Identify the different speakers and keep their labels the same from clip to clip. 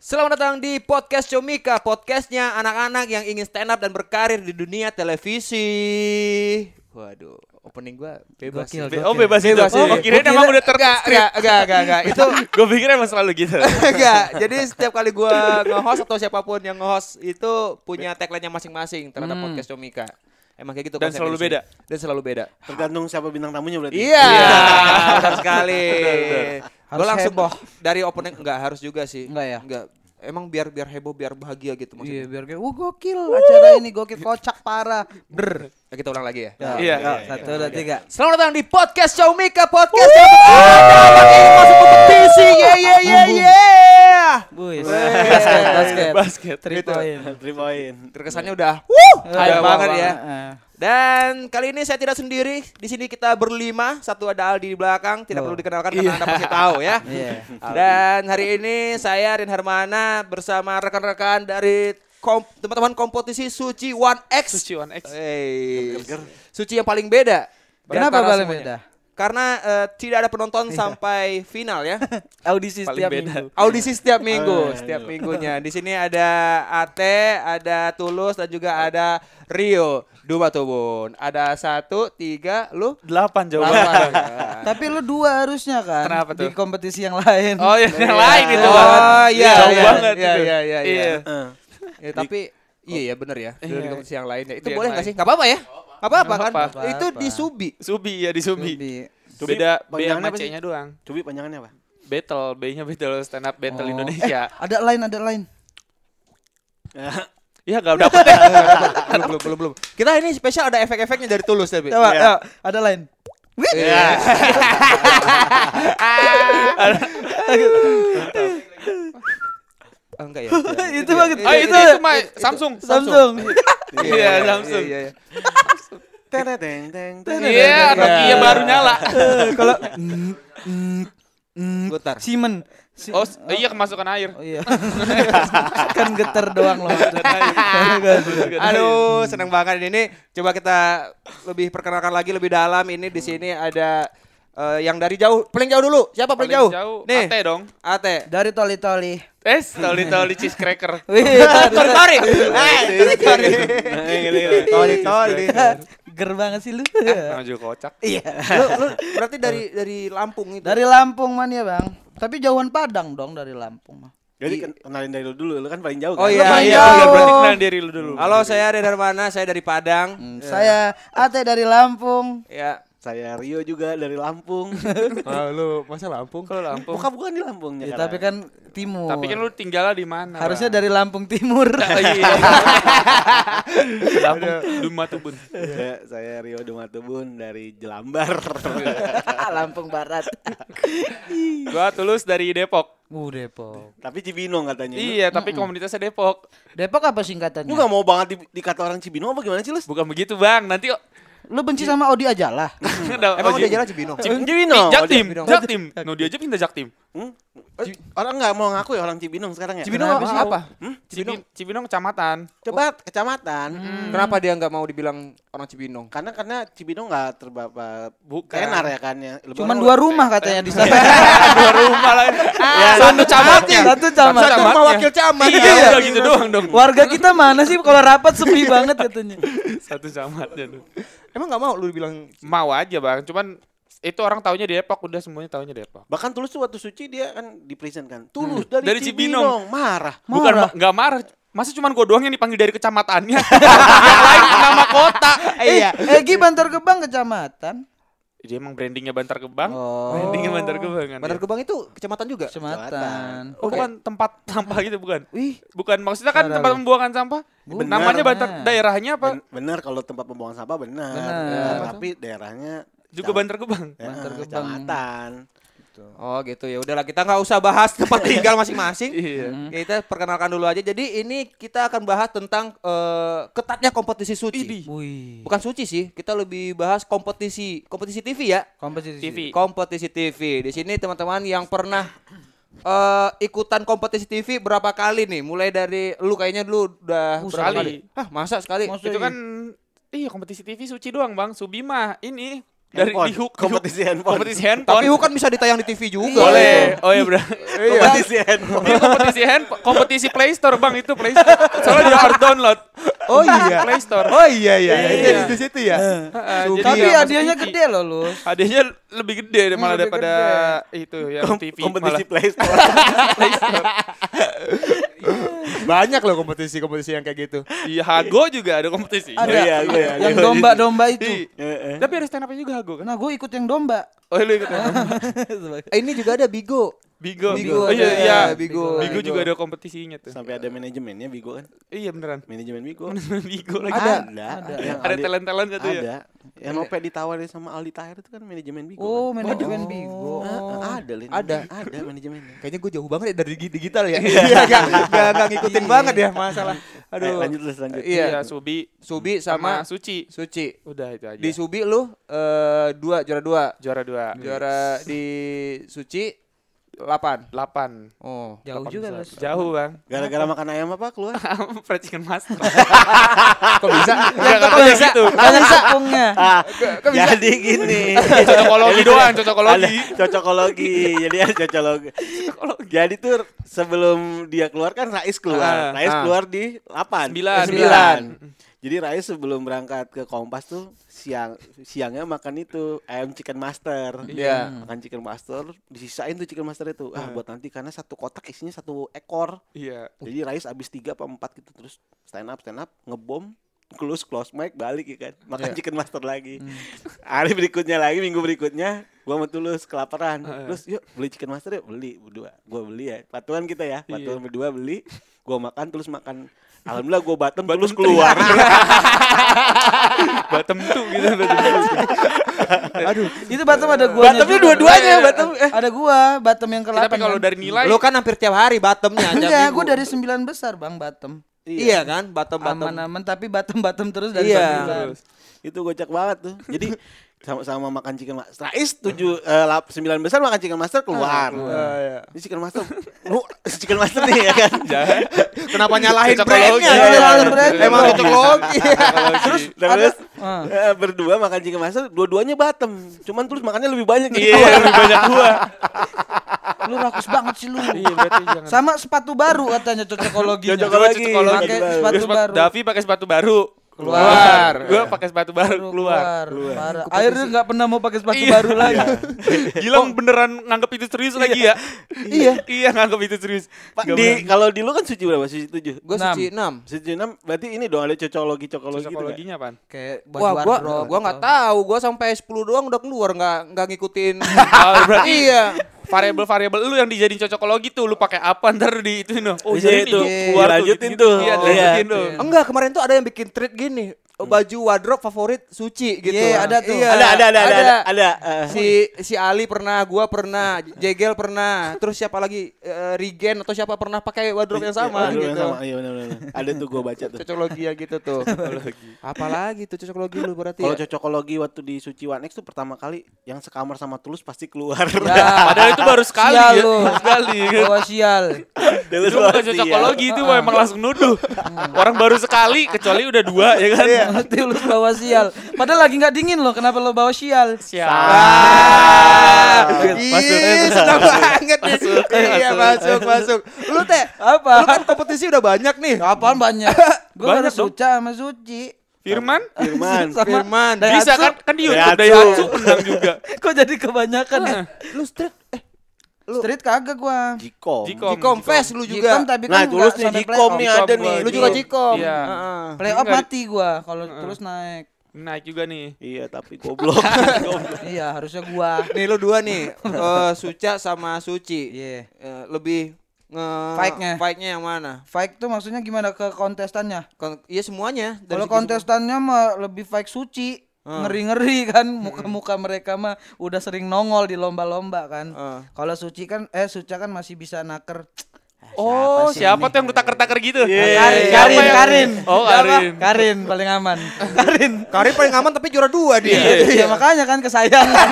Speaker 1: selamat datang di podcast Comika, podcastnya anak-anak yang ingin stand up dan berkarir di dunia televisi. Waduh, opening gua bebas.
Speaker 2: Gokil,
Speaker 1: sih.
Speaker 2: gokil.
Speaker 3: Be- Oh bebas itu.
Speaker 1: Bebas
Speaker 3: Oh,
Speaker 1: itu.
Speaker 3: gua kirain
Speaker 1: Gua
Speaker 3: emang
Speaker 1: kira-
Speaker 3: udah ter
Speaker 1: enggak, enggak, enggak, enggak, enggak. Itu
Speaker 3: Gue pikir emang selalu gitu.
Speaker 1: enggak. Jadi setiap kali gua nge-host atau siapapun yang nge-host itu punya tagline-nya masing-masing terhadap
Speaker 2: Hmm.
Speaker 1: podcast Comika. Emang kayak gitu
Speaker 3: Dan
Speaker 1: konsepnya
Speaker 3: selalu
Speaker 1: di sini.
Speaker 3: beda.
Speaker 1: Dan selalu beda.
Speaker 4: Tergantung siapa bintang tamunya berarti.
Speaker 1: Iya, benar sekali. Gue
Speaker 2: Harus
Speaker 1: langsung
Speaker 2: heboh.
Speaker 1: dari opening enggak harus juga sih.
Speaker 2: Enggak ya?
Speaker 1: Enggak. Emang biar biar heboh, biar bahagia gitu
Speaker 2: Iya
Speaker 1: maksudnya.
Speaker 2: biar kayak, wah gokil acara ini gokil kocak parah. Ber.
Speaker 1: Ya, kita ulang lagi ya.
Speaker 2: Ya,
Speaker 3: Iya.
Speaker 2: ya, Satu dua tiga.
Speaker 1: Selamat datang di podcast Xiaomika Podcast yang ada yang ingin masuk kompetisi. Ye ye ye ye.
Speaker 2: Buis.
Speaker 1: Weh.
Speaker 2: Basket, basket.
Speaker 3: Basket.
Speaker 2: Three
Speaker 1: Gitu.
Speaker 2: point.
Speaker 4: Three point.
Speaker 1: Terkesannya udah wuh,
Speaker 2: Udah
Speaker 1: ada banget ya.
Speaker 2: eh.
Speaker 1: Dan kali ini saya tidak sendiri. Di sini kita berlima. Satu ada Aldi di belakang. Tidak
Speaker 2: Oh.
Speaker 1: perlu dikenalkan karena Anda pasti tahu ya.
Speaker 2: Iya.
Speaker 1: Dan hari ini saya Rin Hermana bersama rekan-rekan dari kom- teman-teman kompetisi Suci One X.
Speaker 3: Suci One X.
Speaker 1: Hey. Suci yang paling beda. di
Speaker 2: Kenapa
Speaker 1: antara
Speaker 2: paling
Speaker 1: semuanya.
Speaker 2: beda? Iya.
Speaker 1: Karena eh, tidak ada penonton sampai final ya.
Speaker 2: Audisi
Speaker 3: Paling
Speaker 2: setiap
Speaker 3: beda.
Speaker 2: minggu.
Speaker 1: Audisi setiap minggu,
Speaker 4: Eh,
Speaker 1: setiap
Speaker 4: iya.
Speaker 1: minggunya. Di sini ada Ate, ada Tulus dan juga ada Rio. Dua tubun. Ada satu, tiga, lu.
Speaker 3: Delapan jawaban.
Speaker 1: Lawan.
Speaker 2: Tapi lu dua harusnya kan.
Speaker 3: Kenapa tuh?
Speaker 2: Di kompetisi yang lain.
Speaker 3: Oh iya, yang lain itu.
Speaker 1: Oh iya,
Speaker 3: Jauh
Speaker 1: iya,
Speaker 3: banget
Speaker 1: iya,
Speaker 3: itu.
Speaker 1: iya, iya, iya.
Speaker 4: Eh,
Speaker 1: Ya, tapi iya ya bener ya. Dulu di
Speaker 3: Iya.
Speaker 1: kompetisi yang lainnya itu
Speaker 3: Yang
Speaker 1: boleh nggak
Speaker 3: lain.
Speaker 1: sih? Gak apa-apa ya? Gak apa-apa kan?
Speaker 3: Nggak apa-apa.
Speaker 1: Itu di Subi.
Speaker 3: Subi ya di Subi.
Speaker 2: Lebih. Oh.
Speaker 4: Subi
Speaker 3: Beda B
Speaker 4: panjangannya
Speaker 3: sama
Speaker 4: apa sih?
Speaker 3: C-nya doang.
Speaker 4: Cubi panjangannya apa?
Speaker 3: Battle, B-nya battle stand up battle
Speaker 2: Oh.
Speaker 3: Indonesia.
Speaker 2: Eh, ada lain, ada lain.
Speaker 3: Iya gak dapet ya.
Speaker 1: Ah, belum, belum, belum, belum. Kita ini spesial ada efek-efeknya dari Tulus tapi.
Speaker 2: Coba,
Speaker 4: Iya.
Speaker 2: ayo, ada lain. Wih.
Speaker 1: Iya. Oh,
Speaker 3: Iya.
Speaker 1: enggak ya.
Speaker 2: Itu banget.
Speaker 3: Oh itu, itu mah Samsung.
Speaker 2: iya. Samsung.
Speaker 3: Iya, Samsung.
Speaker 1: Iya, iya.
Speaker 4: Teng teng teng. teng.
Speaker 3: Iya, Nokia
Speaker 1: Iya.
Speaker 3: baru nyala.
Speaker 2: Eh, Kalau Mm, mm, mm,
Speaker 1: Putar.
Speaker 2: Simon. Si-
Speaker 3: Oh s- iya kemasukan air.
Speaker 2: Oh iya. kan getar doang loh.
Speaker 3: Iya.
Speaker 2: Kan.
Speaker 1: iya. Aduh, senang banget ini. Coba kita lebih perkenalkan lagi lebih dalam. Ini di sini ada eh, yang dari jauh, paling jauh dulu. Siapa paling, jauh? Nih,
Speaker 3: Ate dong.
Speaker 1: Ate.
Speaker 2: Dari Toli Toli.
Speaker 3: Eh, toli toli cheese cracker.
Speaker 2: Wih,
Speaker 1: Sorry, sorry. Eh, sorry.
Speaker 4: Toli toli.
Speaker 2: ger banget sih lu.
Speaker 3: Nama juga kocak.
Speaker 2: Iya.
Speaker 1: Lu, lu berarti dari dari Lampung itu.
Speaker 2: Dari Lampung man ya, Bang. Tapi jauhan Padang dong dari Lampung mah.
Speaker 4: Jadi ken- kenalin dari lu dulu, lu kan paling jauh
Speaker 1: Oh,
Speaker 4: kan?
Speaker 1: iya.
Speaker 3: Iya, iya,
Speaker 2: jauh.
Speaker 3: berarti kenal diri lu dulu.
Speaker 1: Halo, saya dari Darmana, saya dari Padang.
Speaker 3: Iya.
Speaker 2: Hmm, Saya Ate dari Lampung.
Speaker 1: Ya.
Speaker 4: Saya Rio juga dari Lampung.
Speaker 1: lu masa Lampung?
Speaker 3: Kalau Lampung.
Speaker 4: Bokap bukan di Lampung
Speaker 2: Ya,
Speaker 4: Jakarta.
Speaker 2: tapi kan timur.
Speaker 3: Iya, Tapi kan lu tinggalnya di mana?
Speaker 2: harusnya dari Lampung Timur.
Speaker 3: Oh, iya. Lampung Dumatubun.
Speaker 4: saya, Iya, saya Rio Dumatubun dari Jelambar.
Speaker 2: Lampung Barat.
Speaker 3: Gua tulus dari Depok.
Speaker 2: Uh, Depok.
Speaker 4: tapi Cibinong katanya.
Speaker 3: Iya, tapi komunitasnya Depok.
Speaker 2: Depok apa
Speaker 4: Lu
Speaker 2: singkatannya?
Speaker 4: gak mau banget di- dikata orang Cibinong apa gimana sih lu?
Speaker 3: Bukan begitu, Bang. Nanti
Speaker 2: Lu benci sama Odi aja lah.
Speaker 3: Oh,
Speaker 1: Emang udah jalan Cibinong?
Speaker 4: Cibinong.
Speaker 3: Jaktim,
Speaker 1: Cibinong.
Speaker 3: Jaktim. No dia aja pindah Jaktim.
Speaker 4: Hmm? Eh, Orang gak mau ngaku ya orang Cibinong sekarang ya?
Speaker 3: Nah,
Speaker 1: Cibinong
Speaker 2: Kenapa
Speaker 1: apa sih?
Speaker 2: sih?
Speaker 1: Apa?
Speaker 3: Cibinong, Cibinong kecamatan.
Speaker 4: Coba kecamatan.
Speaker 1: Hmm. Kenapa dia nggak mau dibilang orang Cibinong?
Speaker 4: Karena karena Cibinong nggak terbapak
Speaker 3: Bukan.
Speaker 4: tenar ya kan ya. Lebih
Speaker 2: Cuman
Speaker 4: orang-
Speaker 2: dua rumah katanya di sana.
Speaker 3: Dua rumah lah.
Speaker 1: Ya,
Speaker 3: Satu camatnya.
Speaker 2: Satu camat.
Speaker 3: Satu
Speaker 1: Sama
Speaker 3: camatnya.
Speaker 1: wakil camat. ya?
Speaker 3: Iya, udah gitu doang dong.
Speaker 2: Warga kita mana sih kalau rapat sepi banget katanya.
Speaker 3: Satu camatnya tuh.
Speaker 1: Emang nggak mau lu dibilang
Speaker 3: Mau aja, Bang. Cuman itu orang taunya Depok, udah semuanya taunya Depok.
Speaker 4: Bahkan Tulus tuh waktu suci dia kan di prison kan. Tulus dari,
Speaker 3: Dari Cibinong.
Speaker 4: Cibinong. marah.
Speaker 3: Bukan
Speaker 2: Marah.
Speaker 3: ma- nggak marah. Masa cuman gue doang yang dipanggil dari kecamatannya? yang lain nama kota.
Speaker 1: Eh,
Speaker 2: Iya. Egi Bantar Gebang kecamatan.
Speaker 3: Dia emang brandingnya Bantar Gebang.
Speaker 2: Oh.
Speaker 3: Brandingnya Bantar Gebang kan.
Speaker 1: Bandar Gebang itu kecamatan juga?
Speaker 2: Kecamatan.
Speaker 3: Oh, bukan tempat sampah gitu bukan?
Speaker 2: Wih,
Speaker 3: Bukan maksudnya kan
Speaker 2: Parah
Speaker 3: tempat
Speaker 2: lu.
Speaker 3: pembuangan sampah.
Speaker 2: Bukan.
Speaker 3: Namanya Bantar daerahnya apa?
Speaker 4: Ben- bener kalau tempat pembuangan sampah bener.
Speaker 2: Bener.
Speaker 4: Bener, Tapi daerahnya
Speaker 3: Juga Bantar Gebang.
Speaker 4: Ya,
Speaker 2: Bantar Gebang.
Speaker 4: Kecamatan.
Speaker 1: Oh gitu ya udahlah kita nggak usah bahas tempat tinggal masing-masing. Hmm.
Speaker 3: Iya.
Speaker 1: Kita perkenalkan dulu aja. Jadi ini kita akan bahas tentang eh, ketatnya kompetisi
Speaker 3: Idi.
Speaker 1: suci.
Speaker 2: wih.
Speaker 1: Bukan suci sih, kita lebih bahas kompetisi kompetisi TV ya.
Speaker 2: Kompetisi.
Speaker 3: TV.
Speaker 1: Kompetisi TV. Di sini teman-teman yang pernah eh, ikutan kompetisi TV berapa kali nih? Mulai dari lu kayaknya dulu udah
Speaker 2: Uh,
Speaker 1: berapa
Speaker 3: sekali.
Speaker 1: Hmm. kali? Hah, masa sekali? kan
Speaker 2: Mas-
Speaker 3: iya, Itu kan Iya kompetisi TV suci doang bang Subima ini Dari
Speaker 4: Handphone.
Speaker 3: di hook
Speaker 4: Kompetisi handphone.
Speaker 3: Kompetisi handphone.
Speaker 1: Tapi Hu kan bisa ditayang di TV juga.
Speaker 3: boleh. Oh iya bro. Iya.
Speaker 4: Kompetisi handphone.
Speaker 3: Ini kompetisi handphone, kompetisi Play Store bang itu Play Store. Soalnya dia hard download.
Speaker 1: Oh iya.
Speaker 3: Play Store.
Speaker 1: Oh iya iya.
Speaker 3: Iya.
Speaker 1: Jadi di situ ya.
Speaker 3: Heeh, jadi
Speaker 2: Tapi
Speaker 3: nggak
Speaker 2: hadiahnya
Speaker 3: mesti.
Speaker 2: gede loh lu.
Speaker 3: Hadiahnya Iya, lebih gede malah
Speaker 2: lebih
Speaker 3: daripada itu ya, yang
Speaker 4: Kom-
Speaker 3: TV
Speaker 4: Kompetisi
Speaker 3: malah.
Speaker 4: Play Store.
Speaker 1: Banyak loh kompetisi-kompetisi yang kayak gitu.
Speaker 3: Iya Hago juga ada kompetisi.
Speaker 2: Ada
Speaker 4: iya, gua ya,
Speaker 2: yang
Speaker 4: gua ya.
Speaker 2: domba-domba itu.
Speaker 3: Iya. Tapi ada stand up-nya juga Hago kan?
Speaker 2: Nah, gue ikut yang domba.
Speaker 3: Oh lu ikut ya?
Speaker 2: Sebagai-
Speaker 1: Eh, ini juga ada Bigo.
Speaker 3: Bigo.
Speaker 1: Bigo
Speaker 3: Oh iya
Speaker 1: ada,
Speaker 3: iya.
Speaker 1: Bigo.
Speaker 3: Bigo juga ada kompetisinya tuh.
Speaker 4: Sampai ada manajemennya Bigo kan.
Speaker 3: Iya beneran.
Speaker 4: Manajemen Bigo.
Speaker 3: Bigo lagi.
Speaker 4: Ada.
Speaker 2: Ada.
Speaker 4: Yang
Speaker 3: Ada
Speaker 4: Aldi-
Speaker 3: talent-talent gitu ya?
Speaker 4: Ada. Yang Nope ditawarin sama Aldi Tahir itu kan manajemen Bigo.
Speaker 2: Oh,
Speaker 4: kan?
Speaker 2: manajemen Bigo.
Speaker 4: Heeh, Ada, Lin.
Speaker 1: Ada.
Speaker 4: Ada manajemennya.
Speaker 1: Kayaknya gue jauh banget ya dari digi- digital ya. Iya, gak, gak, gak
Speaker 2: Iya.
Speaker 1: ngikutin banget ya masalah. Aduh.
Speaker 2: Eh,
Speaker 4: Ayo, lanjut Lis, lanjut.
Speaker 1: Iya.
Speaker 3: Iya, Subi
Speaker 1: Subi
Speaker 3: sama
Speaker 1: sama
Speaker 3: Suci.
Speaker 1: Suci.
Speaker 2: Iya.
Speaker 3: Udah itu aja.
Speaker 1: Di Subi lu eh, dua juara dua.
Speaker 3: juara
Speaker 2: Iya.
Speaker 3: dua.
Speaker 1: Juara di Suci delapan.
Speaker 3: Delapan.
Speaker 1: Oh.
Speaker 2: Jauh
Speaker 3: Delapan
Speaker 2: juga,
Speaker 3: besar.
Speaker 2: Mas.
Speaker 3: Jauh bang.
Speaker 4: Gara-gara makan ayam apa keluar?
Speaker 3: Fried chicken master.
Speaker 1: Kok bisa?
Speaker 3: Gak kata bisa. Gitu.
Speaker 2: Banyak sapungnya.
Speaker 4: Jadi gini.
Speaker 3: Cocokologi doang, cocokologi.
Speaker 4: Ada cocokologi. Jadi ada cocokologi. Jadi tuh sebelum dia keluar kan Rais
Speaker 3: Ah,
Speaker 4: keluar. Rais
Speaker 1: ah.
Speaker 4: keluar di 8.
Speaker 3: Sembilan.
Speaker 4: Jadi Rais sebelum berangkat ke Kompas tuh siang siangnya makan itu ayam chicken master.
Speaker 1: Iya.
Speaker 4: Makan chicken master, disisain tuh chicken master itu. Ah buat nanti karena satu kotak isinya satu ekor.
Speaker 3: Iya.
Speaker 4: Jadi Rais abis tiga apa empat gitu terus stand up stand up ngebom close close mic balik ya kan makan chicken master lagi hari berikutnya lagi minggu berikutnya gua mau tulus kelaparan
Speaker 3: Heeh.
Speaker 4: terus yuk beli chicken master yuk beli berdua gua beli ya patungan kita ya patungan berdua beli gua makan terus makan alhamdulillah gua batem terus keluar
Speaker 3: Batem tuh gitu. Batem tuh.
Speaker 1: Aduh.
Speaker 2: Itu Batam ada gua.
Speaker 4: Batemnya dua-duanya, Batem, eh.
Speaker 2: Iya, Ada gua, Batam yang ke-8.
Speaker 3: Tapi kalau dari nilai.
Speaker 1: Lu kan hampir tiap hari batemnya.
Speaker 2: Enggak,
Speaker 1: tiap
Speaker 2: Iya, gua
Speaker 1: minggu.
Speaker 2: dari 9 besar, Bang, Batam.
Speaker 1: Iya kan, batem-batem.
Speaker 2: Aman-aman tapi Batam-Batam terus dari
Speaker 1: Iya.
Speaker 2: sembilan.
Speaker 3: Terus.
Speaker 4: itu gocak banget tuh jadi sama-sama makan chicken master Rais tujuh eh, lap- sembilan besar makan chicken master keluar
Speaker 1: Ah, iya.
Speaker 4: Ini chicken master lu chicken master nih ya kan
Speaker 1: Kenapa nyalahin
Speaker 3: Cocokologi.
Speaker 1: brandnya?
Speaker 2: Iya,
Speaker 1: Nyalahin
Speaker 2: iya,
Speaker 1: brandnya.
Speaker 2: iya.
Speaker 1: Emang cocokologi.
Speaker 3: Terus.
Speaker 4: terus
Speaker 2: Ah.
Speaker 4: Eh, berdua makan chicken master, dua-duanya batem. Cuman terus makannya lebih banyak gitu.
Speaker 3: Iya lebih banyak gua.
Speaker 2: Lu rakus banget sih lu.
Speaker 3: Iya berarti jangan.
Speaker 2: Sama sepatu baru katanya cocokologinya.
Speaker 4: Cocokologi.
Speaker 2: Cocokologi. Pakai
Speaker 4: Cocokologi.
Speaker 2: sepatu
Speaker 3: Gua sepat-
Speaker 2: baru.
Speaker 3: Davi pakai sepatu baru.
Speaker 1: Keluar.
Speaker 3: Gue pakai sepatu baru
Speaker 2: Baru
Speaker 3: keluar.
Speaker 2: keluar. Parah. Akhirnya nggak pernah mau pakai sepatu
Speaker 3: Iya.
Speaker 2: baru lagi.
Speaker 3: Gilang beneran nganggep itu serius lagi ya? Iya. Iya nganggep itu serius.
Speaker 4: Pak,
Speaker 3: Gak
Speaker 4: di
Speaker 3: bener.
Speaker 4: kalau di lu kan suci berapa? Suci 7.
Speaker 1: Gue
Speaker 2: Enam.
Speaker 1: suci 6.
Speaker 4: Suci 6 berarti ini dong ada cocokologi-cocokologi gitu. Kan?
Speaker 3: Cocokologinya apaan?
Speaker 2: Kayak baju
Speaker 1: Wah, gua
Speaker 2: wardrobe
Speaker 1: gua nggak
Speaker 2: atau-
Speaker 1: tahu. Gua sampai 10 doang udah keluar nggak nggak ngikutin.
Speaker 3: Oh, berarti
Speaker 1: iya.
Speaker 3: variabel-variabel lu yang dijadiin cocokologi tuh lu pakai apa ntar di itu no. Oh,
Speaker 4: Bisa itu. Dilanjutin tuh.
Speaker 3: Iya,
Speaker 4: Iya.
Speaker 3: dilanjutin tuh.
Speaker 1: Enggak, kemarin tuh ada yang bikin treat gini. Baju wardrobe favorit suci gitu.
Speaker 2: Iya, ada tuh.
Speaker 1: Iya.
Speaker 4: Ada ada ada ada ada. ada. eh,
Speaker 1: Si si Ali pernah, gua pernah, Jegel pernah, terus siapa lagi Eh, Rigen atau siapa pernah pakai wardrobe yang sama
Speaker 4: ada
Speaker 1: gitu.
Speaker 4: yang sama. Iya benar-benar. Ada tuh gua baca tuh.
Speaker 1: Cocokologi ya gitu tuh. Apalagi tuh cocokologi lu berarti.
Speaker 4: Kalau
Speaker 1: ya?
Speaker 4: cocokologi waktu di Suci One X tuh pertama kali yang sekamar sama Tulus pasti keluar.
Speaker 1: Ya,
Speaker 3: Padahal itu baru sekali
Speaker 2: Sial
Speaker 3: ya.
Speaker 2: lu.
Speaker 3: Baru Sekali.
Speaker 2: Bawa sial.
Speaker 4: Tulus
Speaker 3: Itu bukan
Speaker 4: pasti, ya.
Speaker 3: cocokologi itu memang langsung nuduh. Orang baru sekali kecuali udah dua ya kan.
Speaker 2: Nanti lu bawa sial. Padahal lagi nggak dingin loh. Kenapa lo bawa sial?
Speaker 1: Ah,
Speaker 3: Masuk.
Speaker 1: Ih, senang banget nih. Iya, masuk, masuk. Lu teh,
Speaker 2: Apa?
Speaker 1: lu kan kompetisi udah banyak nih.
Speaker 2: Apaan banyak? Gue
Speaker 3: Banyak
Speaker 2: ada
Speaker 3: dong.
Speaker 2: suca sama suci.
Speaker 3: Firman
Speaker 4: Firman.
Speaker 1: Firman.
Speaker 2: Daihatsu.
Speaker 3: bisa kan kan di YouTube
Speaker 4: Daihatsu.
Speaker 3: Daihatsu menang juga.
Speaker 2: Kok jadi kebanyakan ya?
Speaker 1: Lu street eh lu
Speaker 2: Street kagak gua.
Speaker 4: Jikom.
Speaker 3: Jikom.
Speaker 1: Jikom Fest lu ya.
Speaker 2: Jikom
Speaker 1: juga.
Speaker 2: tapi
Speaker 4: Nah,
Speaker 2: kan
Speaker 4: Tulus
Speaker 2: nggak
Speaker 4: nih
Speaker 2: sampai
Speaker 4: Jikom
Speaker 2: playoff.
Speaker 4: nih
Speaker 3: Jikom
Speaker 4: ada
Speaker 3: gua,
Speaker 4: nih.
Speaker 1: Lu juga
Speaker 3: Jikom.
Speaker 1: Jikom.
Speaker 3: Iya.
Speaker 1: Heeh.
Speaker 2: Playoff
Speaker 3: Enggak.
Speaker 2: mati gua kalau terus naik.
Speaker 3: Naik juga nih.
Speaker 4: Iya, tapi goblok. Goblok.
Speaker 2: Iya, harusnya gua.
Speaker 1: Nih lu dua nih, eh, Suca sama Suci.
Speaker 2: Iya.
Speaker 1: Eh, lebih nge
Speaker 2: Fight-nya.
Speaker 1: fight-nya yang mana?
Speaker 2: Fake tuh maksudnya gimana ke kontestannya?
Speaker 1: Kon- iya semuanya. dari
Speaker 2: Kalau
Speaker 1: segi
Speaker 2: kontestannya mah lebih fake suci.
Speaker 3: Ah.
Speaker 2: Ngeri-ngeri kan muka-muka mereka mah udah sering nongol di lomba-lomba kan.
Speaker 3: Ah.
Speaker 1: Eh.
Speaker 2: Kalau suci kan eh suca kan masih bisa naker.
Speaker 3: Oh, siapa, tuh yang lu taker-taker gitu?
Speaker 2: Karin,
Speaker 3: Siapa
Speaker 2: Karin,
Speaker 3: yang-
Speaker 2: Karin.
Speaker 3: Oh,
Speaker 2: Siapa?
Speaker 3: Karin.
Speaker 2: Karin paling aman. Karin.
Speaker 1: semua. Karin paling aman tapi juara dua dia.
Speaker 2: Iya, makanya kan kesayangan.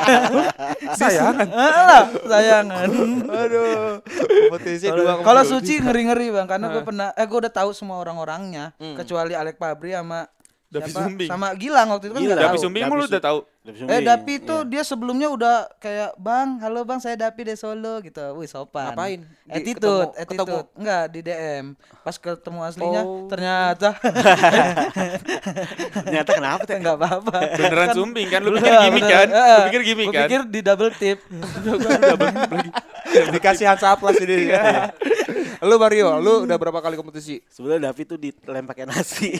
Speaker 2: Sayangan. Alah, sayangan.
Speaker 1: Aduh. Kompetisi dua.
Speaker 2: Kalau- Kalau
Speaker 3: Hmm.
Speaker 2: suci ngeri-ngeri bang, karena gue pernah, eh gue udah tahu semua orang-orangnya, kecuali Alek Pabri sama
Speaker 3: Dapi
Speaker 2: Siapa?
Speaker 3: Sumbing.
Speaker 2: Sama Gilang waktu itu kan
Speaker 4: Gilang.
Speaker 2: nggak
Speaker 3: Dapi
Speaker 2: tahu.
Speaker 3: Sumbing
Speaker 4: Dapi
Speaker 3: mulu
Speaker 4: Su-
Speaker 3: udah tahu.
Speaker 2: Eh Dapi itu
Speaker 3: iya.
Speaker 2: dia sebelumnya udah kayak Bang, halo Bang, saya Dapi dari Solo gitu. Wih sopan.
Speaker 1: Ngapain? Di- ketemu-
Speaker 2: Attitude, attitude.
Speaker 1: ketemu?
Speaker 2: Enggak di DM. Pas ketemu aslinya
Speaker 1: Oh.
Speaker 2: ternyata
Speaker 4: ternyata kenapa teh?
Speaker 2: enggak apa-apa.
Speaker 3: Beneran
Speaker 2: Kan-
Speaker 3: Sumbing kan? Lu
Speaker 2: Iya,
Speaker 3: pikir gimmick
Speaker 2: beneran.
Speaker 3: kan?
Speaker 2: Heeh.
Speaker 3: Lu pikir gimmick
Speaker 2: Gua
Speaker 3: kan?
Speaker 2: pikir di double tip.
Speaker 1: Dikasih Hansa Plus ini. lu Mario, lu udah berapa kali kompetisi?
Speaker 4: Sebenarnya Davi tuh dilem pakai nasi.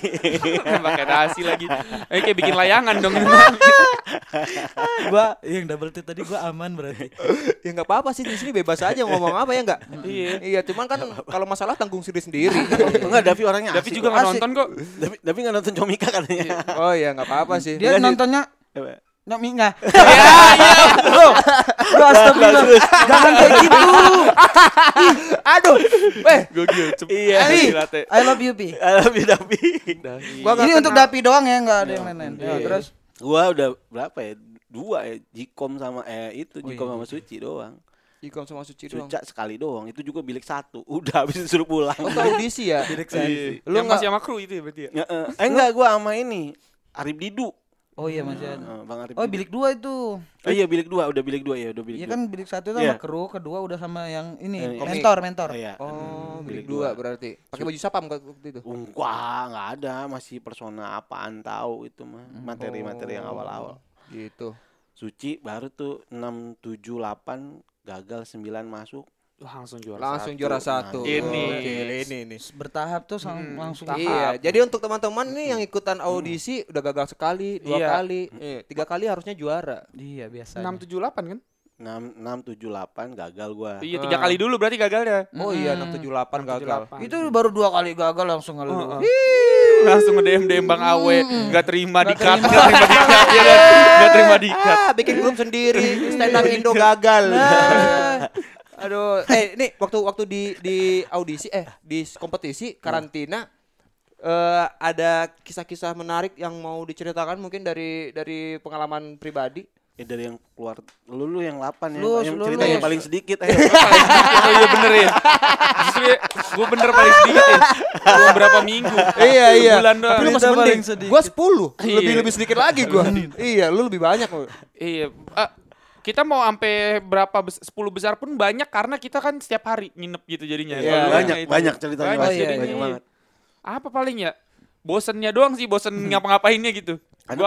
Speaker 3: Pakai nasi lagi. Eh kayak bikin layangan dong. Iya,
Speaker 2: gua yang double tip tadi gua aman berarti.
Speaker 1: ya nggak apa-apa sih di sini bebas aja ngomong apa ya nggak?
Speaker 3: Iya.
Speaker 1: Iya, cuman kan kalau masalah tanggung sendiri sendiri.
Speaker 4: Enggak Davi orangnya
Speaker 3: Dapi
Speaker 4: asik
Speaker 3: juga
Speaker 4: kok.
Speaker 3: nggak nonton kok.
Speaker 4: Davi, Davi nggak nonton Comika katanya.
Speaker 1: oh iya nggak apa-apa sih.
Speaker 2: Dia
Speaker 4: Enggak sih.
Speaker 2: nontonnya
Speaker 4: Coba.
Speaker 2: Naminya. Ya,
Speaker 3: iya.
Speaker 2: Bro. Bro, astagfirullah. Jangan kayak gitu.
Speaker 1: Aduh, eh,
Speaker 3: Gokil. cep-
Speaker 4: Iya.
Speaker 3: asli latte.
Speaker 2: I love you, Pi.
Speaker 4: I love you Davi.
Speaker 1: gua nggak
Speaker 2: Ini
Speaker 1: kenal.
Speaker 2: untuk Dapi doang ya, enggak ada yang lain-lain. Ya,
Speaker 4: Iya.
Speaker 2: terus
Speaker 4: Gua udah berapa ya? Dua ya, Jikom sama eh itu Jikom sama Suci doang.
Speaker 1: Ikom sama Suci doang.
Speaker 4: Suca sekali doang, itu juga bilik satu. Udah habis disuruh pulang.
Speaker 1: Oh, ke audisi ya?
Speaker 3: Iya.
Speaker 1: Lu
Speaker 3: Yang masih
Speaker 1: nggak
Speaker 3: sama kru itu ya berarti ya?
Speaker 4: Ya, eh, eh, enggak gua sama ini Arif Didu.
Speaker 2: Oh iya masih ada.
Speaker 4: Eh, Bang Arif.
Speaker 2: Oh
Speaker 4: Didu.
Speaker 2: bilik dua itu.
Speaker 4: Oh iya bilik dua, udah bilik dua ya, udah bilik
Speaker 2: Iya
Speaker 4: dua.
Speaker 2: kan bilik satu itu sama
Speaker 4: Iya.
Speaker 2: kru, kedua udah sama yang ini
Speaker 4: Yang ini.
Speaker 2: mentor mentor.
Speaker 4: Oh, iya.
Speaker 1: Oh, bilik dua berarti. Pakai baju sapam nggak waktu itu?
Speaker 4: Wah, nggak ada, masih persona apaan tahu itu mah materi-materi yang awal-awal.
Speaker 1: Gitu.
Speaker 4: Suci baru tuh 6 7 8 gagal 9 masuk.
Speaker 3: Wah, langsung juara.
Speaker 1: Langsung juara satu.
Speaker 3: Ini.
Speaker 1: Gokil, ini ini.
Speaker 2: Bertahap tuh sang- langsung
Speaker 1: Iya, jadi untuk teman-teman nih yang ikutan audisi udah gagal sekali, dua
Speaker 3: Iya.
Speaker 1: kali, eh, tiga kali harusnya juara.
Speaker 2: Iya biasa.
Speaker 3: 678 kan?
Speaker 4: 6 6 7 8 gagal gua.
Speaker 3: Iya, tiga kali dulu berarti gagalnya.
Speaker 1: Oh iya, 678 gagal.
Speaker 2: Itu baru dua kali gagal langsung ngeluh. Ih,
Speaker 3: langsung nge DM DM Bang Awe nggak terima di cut Hmm. nggak terima di cut ya kan? nggak terima di cut
Speaker 1: Ah, bikin grup sendiri, stand up Indo gagal. Aduh, eh ini waktu waktu di di audisi eh di kompetisi karantina eh ada kisah-kisah menarik yang mau diceritakan mungkin dari dari pengalaman pribadi.
Speaker 4: Eh dari yang keluar lu lu yang 8 ya,
Speaker 2: Lu,
Speaker 4: yang
Speaker 2: lu,
Speaker 4: cerita
Speaker 2: lu.
Speaker 4: yang paling sedikit ayo.
Speaker 3: oh iya bener ya justru ya, gue bener paling sedikit ya Gua berapa minggu
Speaker 1: Iya, iya.
Speaker 3: bulan doang
Speaker 1: Tapi lu masih
Speaker 2: Cerita
Speaker 1: mending.
Speaker 2: paling sedikit.
Speaker 1: Gua 10.
Speaker 3: Iya.
Speaker 1: Lebih lebih sedikit lagi gua. iya, lu lebih banyak lu.
Speaker 3: iya ah, kita mau sampai berapa bes- 10 besar pun banyak karena kita kan setiap hari nginep gitu jadinya
Speaker 1: Iya,
Speaker 3: Kalau
Speaker 4: banyak,
Speaker 3: yang itu.
Speaker 4: banyak ceritanya
Speaker 3: banyak, iya,
Speaker 2: pasti,
Speaker 3: jadinya.
Speaker 4: banyak banget.
Speaker 3: apa paling ya bosennya doang sih bosen ngapa-ngapainnya gitu
Speaker 4: Karena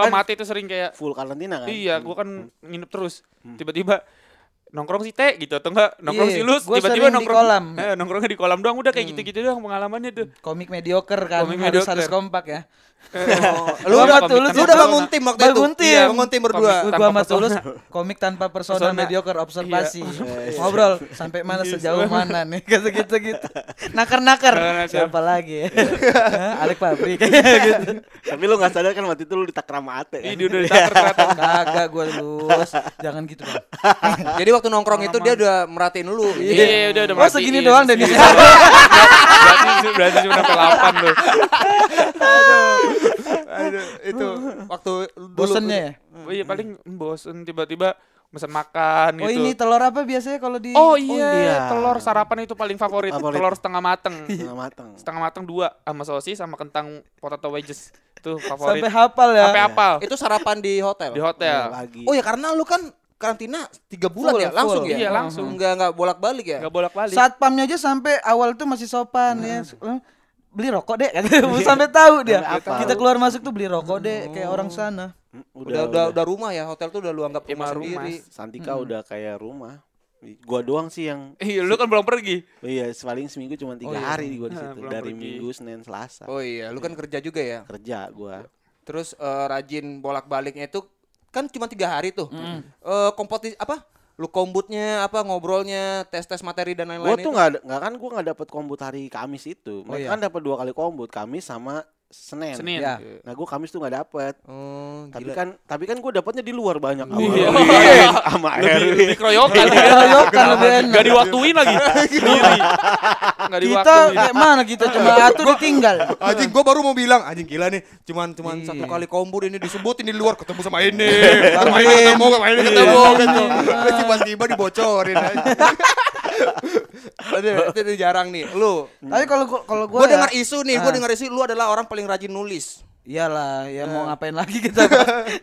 Speaker 3: gue
Speaker 4: kan-
Speaker 3: mati itu sering kayak
Speaker 4: Full karantina kan?
Speaker 3: Iya, gua kan nginep terus. Tiba-tiba nongkrong sih teh gitu atau enggak nongkrong
Speaker 2: Iya,
Speaker 3: sih lu
Speaker 2: gua
Speaker 3: tiba-tiba
Speaker 2: sering di
Speaker 3: nongkrong
Speaker 2: kolam.
Speaker 3: Eh, nongkrongnya di kolam doang udah kayak gitu-gitu doang pengalamannya tuh.
Speaker 2: Komik mediocre kan
Speaker 3: Komik
Speaker 2: harus
Speaker 3: mediocre.
Speaker 2: harus kompak ya.
Speaker 1: Lu
Speaker 3: Gua
Speaker 1: udah
Speaker 3: sama
Speaker 1: tulus,
Speaker 3: Komik
Speaker 1: lu udah
Speaker 3: tanpa
Speaker 1: bangun
Speaker 3: persona.
Speaker 1: tim waktu itu.
Speaker 2: Bangun tim.
Speaker 1: Iya, bangun tim berdua.
Speaker 3: Komik.
Speaker 2: Gua
Speaker 3: Tanpa
Speaker 2: sama Tulus
Speaker 3: persona.
Speaker 2: komik tanpa persona,
Speaker 3: Persona. Iya.
Speaker 2: mediocre observasi. Ngobrol sampai mana sejauh mana nih kata gitu gitu. Nakar-nakar.
Speaker 3: Nakar-nakar. Iya.
Speaker 2: Siapa lagi ya? Hah, Alek Pabrik gitu.
Speaker 4: Tapi lu nggak sadar kan waktu itu lu ditakar sama Ate.
Speaker 3: Ih,
Speaker 4: Kan?
Speaker 3: dia udah ditaker ternyata.
Speaker 2: Kagak gua lulus. Jangan gitu, Bang.
Speaker 1: Jadi waktu nongkrong itu dia udah merhatiin lu.
Speaker 3: Iya, udah udah
Speaker 2: Oh, segini
Speaker 3: merhatiin.
Speaker 2: doang Denis.
Speaker 3: Segini doang. Berarti berarti cuma sampai 8 lu.
Speaker 1: Aduh, itu waktu dulu-
Speaker 2: Bosennya ya?
Speaker 3: Oh, iya paling bosen tiba-tiba pesan makan
Speaker 2: Oh,
Speaker 3: gitu.
Speaker 2: ini telur apa biasanya kalau di
Speaker 3: Oh iya,
Speaker 4: iya.
Speaker 3: telur sarapan itu paling favorit.
Speaker 4: Favorit.
Speaker 3: Telur setengah mateng.
Speaker 2: Iya.
Speaker 4: Setengah matang.
Speaker 3: setengah mateng dua sama sosis sama kentang potato wedges. Tuh favorit.
Speaker 2: sampai hafal ya.
Speaker 3: Sampai apal
Speaker 1: Itu sarapan di hotel.
Speaker 3: di hotel.
Speaker 2: Iya,
Speaker 4: Lagi.
Speaker 1: Oh ya karena lu kan karantina tiga bulan
Speaker 2: Full,
Speaker 1: ya langsung
Speaker 2: full.
Speaker 1: ya.
Speaker 3: Iya, langsung.
Speaker 1: Enggak enggak bolak-balik ya.
Speaker 3: Gak bolak-balik.
Speaker 2: Satpamnya aja sampai awal tuh masih sopan
Speaker 3: Iya.
Speaker 2: ya. Eh, Beli rokok deh, katanya. sampai tahu dia.
Speaker 4: Sampai hafal.
Speaker 2: Kita keluar masuk tuh beli rokok deh, kayak orang
Speaker 3: Oh.
Speaker 2: sana.
Speaker 1: Udah udah udah rumah ya hotel tuh udah lu anggap rumah,
Speaker 3: Emang rumah.
Speaker 1: sendiri.
Speaker 4: Santika Mm, udah kayak rumah. Gua doang sih yang
Speaker 3: Iya, lu kan belum pergi.
Speaker 4: oh iya paling seminggu cuma tiga hari gua di
Speaker 3: Nah,
Speaker 4: situ
Speaker 3: pulang
Speaker 4: dari
Speaker 3: pergi.
Speaker 4: Minggu Senin Selasa
Speaker 1: Oh iya, lu kan kerja juga ya.
Speaker 4: kerja gua.
Speaker 1: Terus eh, rajin bolak-baliknya itu kan cuma tiga hari tuh. Eh kompetisi apa? Lu kombutnya apa ngobrolnya, tes-tes materi dan
Speaker 4: Gua
Speaker 1: lain-lain
Speaker 4: tuh
Speaker 1: itu.
Speaker 4: nggak ada- nggak kan gua nggak dapat kombut hari Kamis itu. Mereka kan dapat dua kali kombut Kamis sama Senin.
Speaker 3: Senin.
Speaker 2: Ya.
Speaker 4: Nah gua Kamis tuh nggak dapet.
Speaker 1: Oh,
Speaker 4: Tapi
Speaker 1: gila.
Speaker 4: kan tapi kan gua dapatnya di luar banyak
Speaker 3: Iya.
Speaker 4: Awal-awal. sama
Speaker 3: Lebih,
Speaker 4: Erwin.
Speaker 3: lebih keroyokan. ya.
Speaker 2: Keroyokan Iya, lebih enak. Iya.
Speaker 3: Gak diwaktuin lagi. Sendiri.
Speaker 2: Kita
Speaker 3: Gak diwaktuin.
Speaker 2: kayak mana kita cuma atur ditinggal.
Speaker 1: Anjing gua baru mau bilang anjing gila nih cuman cuman satu kali kombur ini disebutin di luar ketemu sama ini Iya. sama ini ketemu sama ini ketemu gitu Terus tiba-tiba dibocorin aja. Aduh, itu tuh jarang nih lu
Speaker 2: Tapi kalau gua kalau gua
Speaker 1: gua Ah.
Speaker 2: ya,
Speaker 1: dengar isu nih gua dengar isu lu adalah orang paling rajin nulis
Speaker 2: Iyalah, ya mau ngapain lagi kita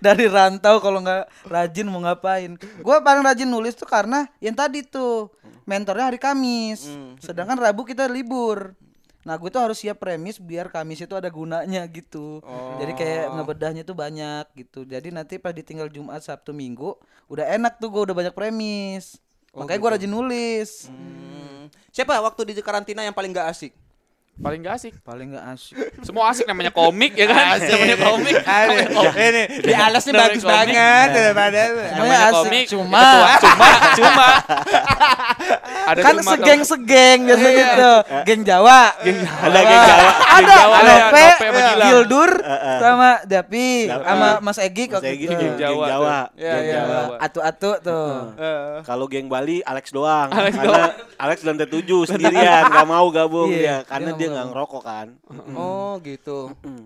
Speaker 2: dari rantau kalau nggak rajin mau ngapain? Gua paling rajin nulis tuh karena yang tadi tuh mentornya hari Kamis, sedangkan Rabu kita libur. Nah gue tuh harus siap premis biar Kamis itu ada gunanya gitu. Jadi kayak ngebedahnya tuh banyak gitu. Jadi nanti pas ditinggal Jumat, Sabtu, Minggu udah enak tuh gue udah banyak premis. Makanya gue rajin nulis.
Speaker 1: Hmm. Siapa waktu di karantina yang paling gak asik?
Speaker 3: Paling gak asik.
Speaker 2: Paling nggak asik.
Speaker 3: Semua asik namanya komik ya kan? Namanya komik. Namanya komik.
Speaker 1: Ini di alasnya
Speaker 3: Namanya
Speaker 1: bagus
Speaker 3: komik.
Speaker 1: banget daripada
Speaker 2: Namanya
Speaker 3: Namanya
Speaker 2: asik,
Speaker 3: komik.
Speaker 2: cuma-
Speaker 3: Ketua- cuma cuma ada
Speaker 2: kan
Speaker 3: cuma tau.
Speaker 2: segeng-segeng biasanya gitu. Geng Jawa.
Speaker 4: Ada geng Jawa.
Speaker 2: ada
Speaker 3: Jawa,
Speaker 2: ada
Speaker 3: ada
Speaker 2: Nope, Iya.
Speaker 3: Nope sama Gilang.
Speaker 2: Gildur
Speaker 4: eh.
Speaker 2: sama Dapi
Speaker 4: Dapi.
Speaker 2: sama Mas Egi
Speaker 4: Mas
Speaker 2: waktu
Speaker 4: Egy,
Speaker 2: itu.
Speaker 4: geng Jawa.
Speaker 3: Jawa.
Speaker 4: Geng
Speaker 1: Iya, iya.
Speaker 4: Jawa.
Speaker 3: Jawa.
Speaker 2: Atu-atu tuh.
Speaker 4: Kalau geng Bali Alex doang.
Speaker 3: Alex
Speaker 4: karena
Speaker 3: doang.
Speaker 4: Alex dan T7 sendirian nggak mau gabung
Speaker 2: Iya,
Speaker 4: dia
Speaker 2: dia
Speaker 4: karena
Speaker 2: nggak
Speaker 4: dia
Speaker 2: mau
Speaker 4: nggak
Speaker 2: gabung.
Speaker 4: ngerokok kan.
Speaker 1: Oh gitu.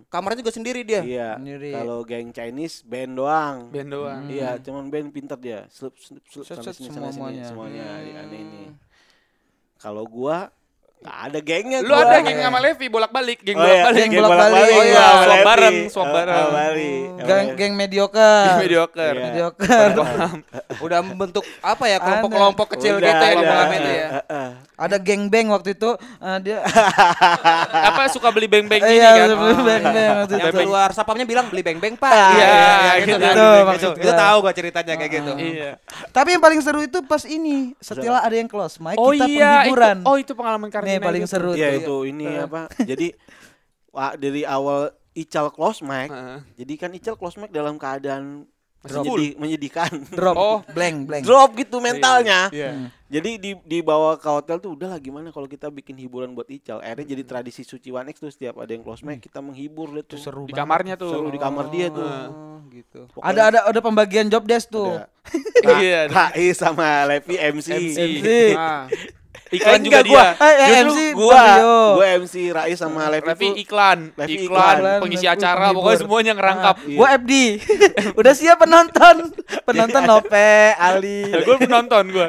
Speaker 1: Kamarnya juga sendiri dia.
Speaker 4: Hmm. Iya.
Speaker 2: Sendiri.
Speaker 4: Kalau geng Chinese band doang.
Speaker 3: Band doang.
Speaker 4: Iya, cuman band pintar dia. Slip slip slip
Speaker 2: Set,
Speaker 4: sana
Speaker 2: set,
Speaker 4: sini sana sini
Speaker 2: semuanya.
Speaker 4: semuanya iya, aneh ini. Kalau gua nggak ada gengnya.
Speaker 3: Lu
Speaker 4: gua. iya,
Speaker 3: ada geng sama Levi bolak-balik, geng bolak-balik.
Speaker 2: Oh, iya. Geng bolak-balik.
Speaker 4: Oh
Speaker 2: Oh
Speaker 4: iya,
Speaker 2: iya,
Speaker 3: swap
Speaker 4: Levi.
Speaker 3: bareng, swap
Speaker 4: Oh,
Speaker 3: bareng.
Speaker 4: oh, Bali.
Speaker 2: Geng geng
Speaker 3: Di
Speaker 2: mediocre.
Speaker 3: mediocre.
Speaker 4: Iya.
Speaker 2: Mediocre.
Speaker 1: Udah membentuk apa ya kelompok-kelompok kecil
Speaker 4: Udah,
Speaker 1: gitu ya
Speaker 4: udah. Eh,
Speaker 1: malam itu ya.
Speaker 4: Heeh.
Speaker 2: Ada geng beng waktu itu eh, dia
Speaker 3: Apa suka beli beng-beng gini
Speaker 2: iya
Speaker 3: kan?
Speaker 2: sebelum beng beng waktu
Speaker 1: Yang
Speaker 2: itu.
Speaker 1: keluar sapamnya bilang beli beng-beng pak.
Speaker 3: Iya, gitu.
Speaker 1: kan.
Speaker 2: Itu
Speaker 1: Gitu.
Speaker 2: maksud
Speaker 1: Itu
Speaker 2: gua.
Speaker 1: tahu gua ceritanya kayak gitu.
Speaker 3: Iya.
Speaker 2: Tapi yang paling seru itu pas ini, setelah ada yang close mic
Speaker 3: Oh
Speaker 2: kita
Speaker 3: iya, itu,
Speaker 2: penghiburan.
Speaker 3: oh itu pengalaman Karina.
Speaker 2: Nih paling
Speaker 3: gitu.
Speaker 2: seru
Speaker 4: Iya
Speaker 2: tuh.
Speaker 4: itu ini
Speaker 2: Eh.
Speaker 4: apa? Jadi wah, dari awal Ical close mic.
Speaker 3: Heeh.
Speaker 4: Jadi kan Ical close mic dalam keadaan
Speaker 3: Drop.
Speaker 4: menyedi- menyedihkan.
Speaker 2: Drop,
Speaker 3: Oh.
Speaker 2: blank, blank.
Speaker 4: Drop gitu mentalnya.
Speaker 3: Iya.
Speaker 4: Jadi di dibawa ke hotel tuh udahlah gimana kalau kita bikin hiburan buat Ical. Akhirnya jadi tradisi suci Wanex tuh setiap ada yang close mic kita menghibur dia tuh.
Speaker 2: Seru Hmm.
Speaker 3: Di
Speaker 2: banget.
Speaker 3: kamarnya tuh. Nah,
Speaker 4: Seru di kamar dia tuh.
Speaker 1: Oh, gitu.
Speaker 4: Pokoknya
Speaker 2: Ada ada ada pembagian job desk tuh.
Speaker 4: Ada. Ra-
Speaker 3: Iya.
Speaker 4: Rai sama Levi Eh, MC.
Speaker 3: MC.
Speaker 2: MC.
Speaker 1: Nah,
Speaker 3: Iklan
Speaker 4: Eh,
Speaker 3: juga
Speaker 4: enggak,
Speaker 3: dia.
Speaker 2: Eh, eh,
Speaker 4: Justru
Speaker 2: MC
Speaker 4: gua,
Speaker 2: Mario.
Speaker 4: gua MC Rai sama Levi.
Speaker 3: Hmm. Levi
Speaker 4: tuh-
Speaker 3: iklan,
Speaker 4: Levi
Speaker 3: iklan,
Speaker 4: iklan,
Speaker 3: pengisi
Speaker 2: Levi Nah,
Speaker 3: acara,
Speaker 2: penghibur.
Speaker 3: pokoknya semuanya ngerangkap.
Speaker 4: Iya.
Speaker 2: Ah, Gua FD. Udah siap penonton. Penonton Nope, Ali.
Speaker 3: gue penonton gue.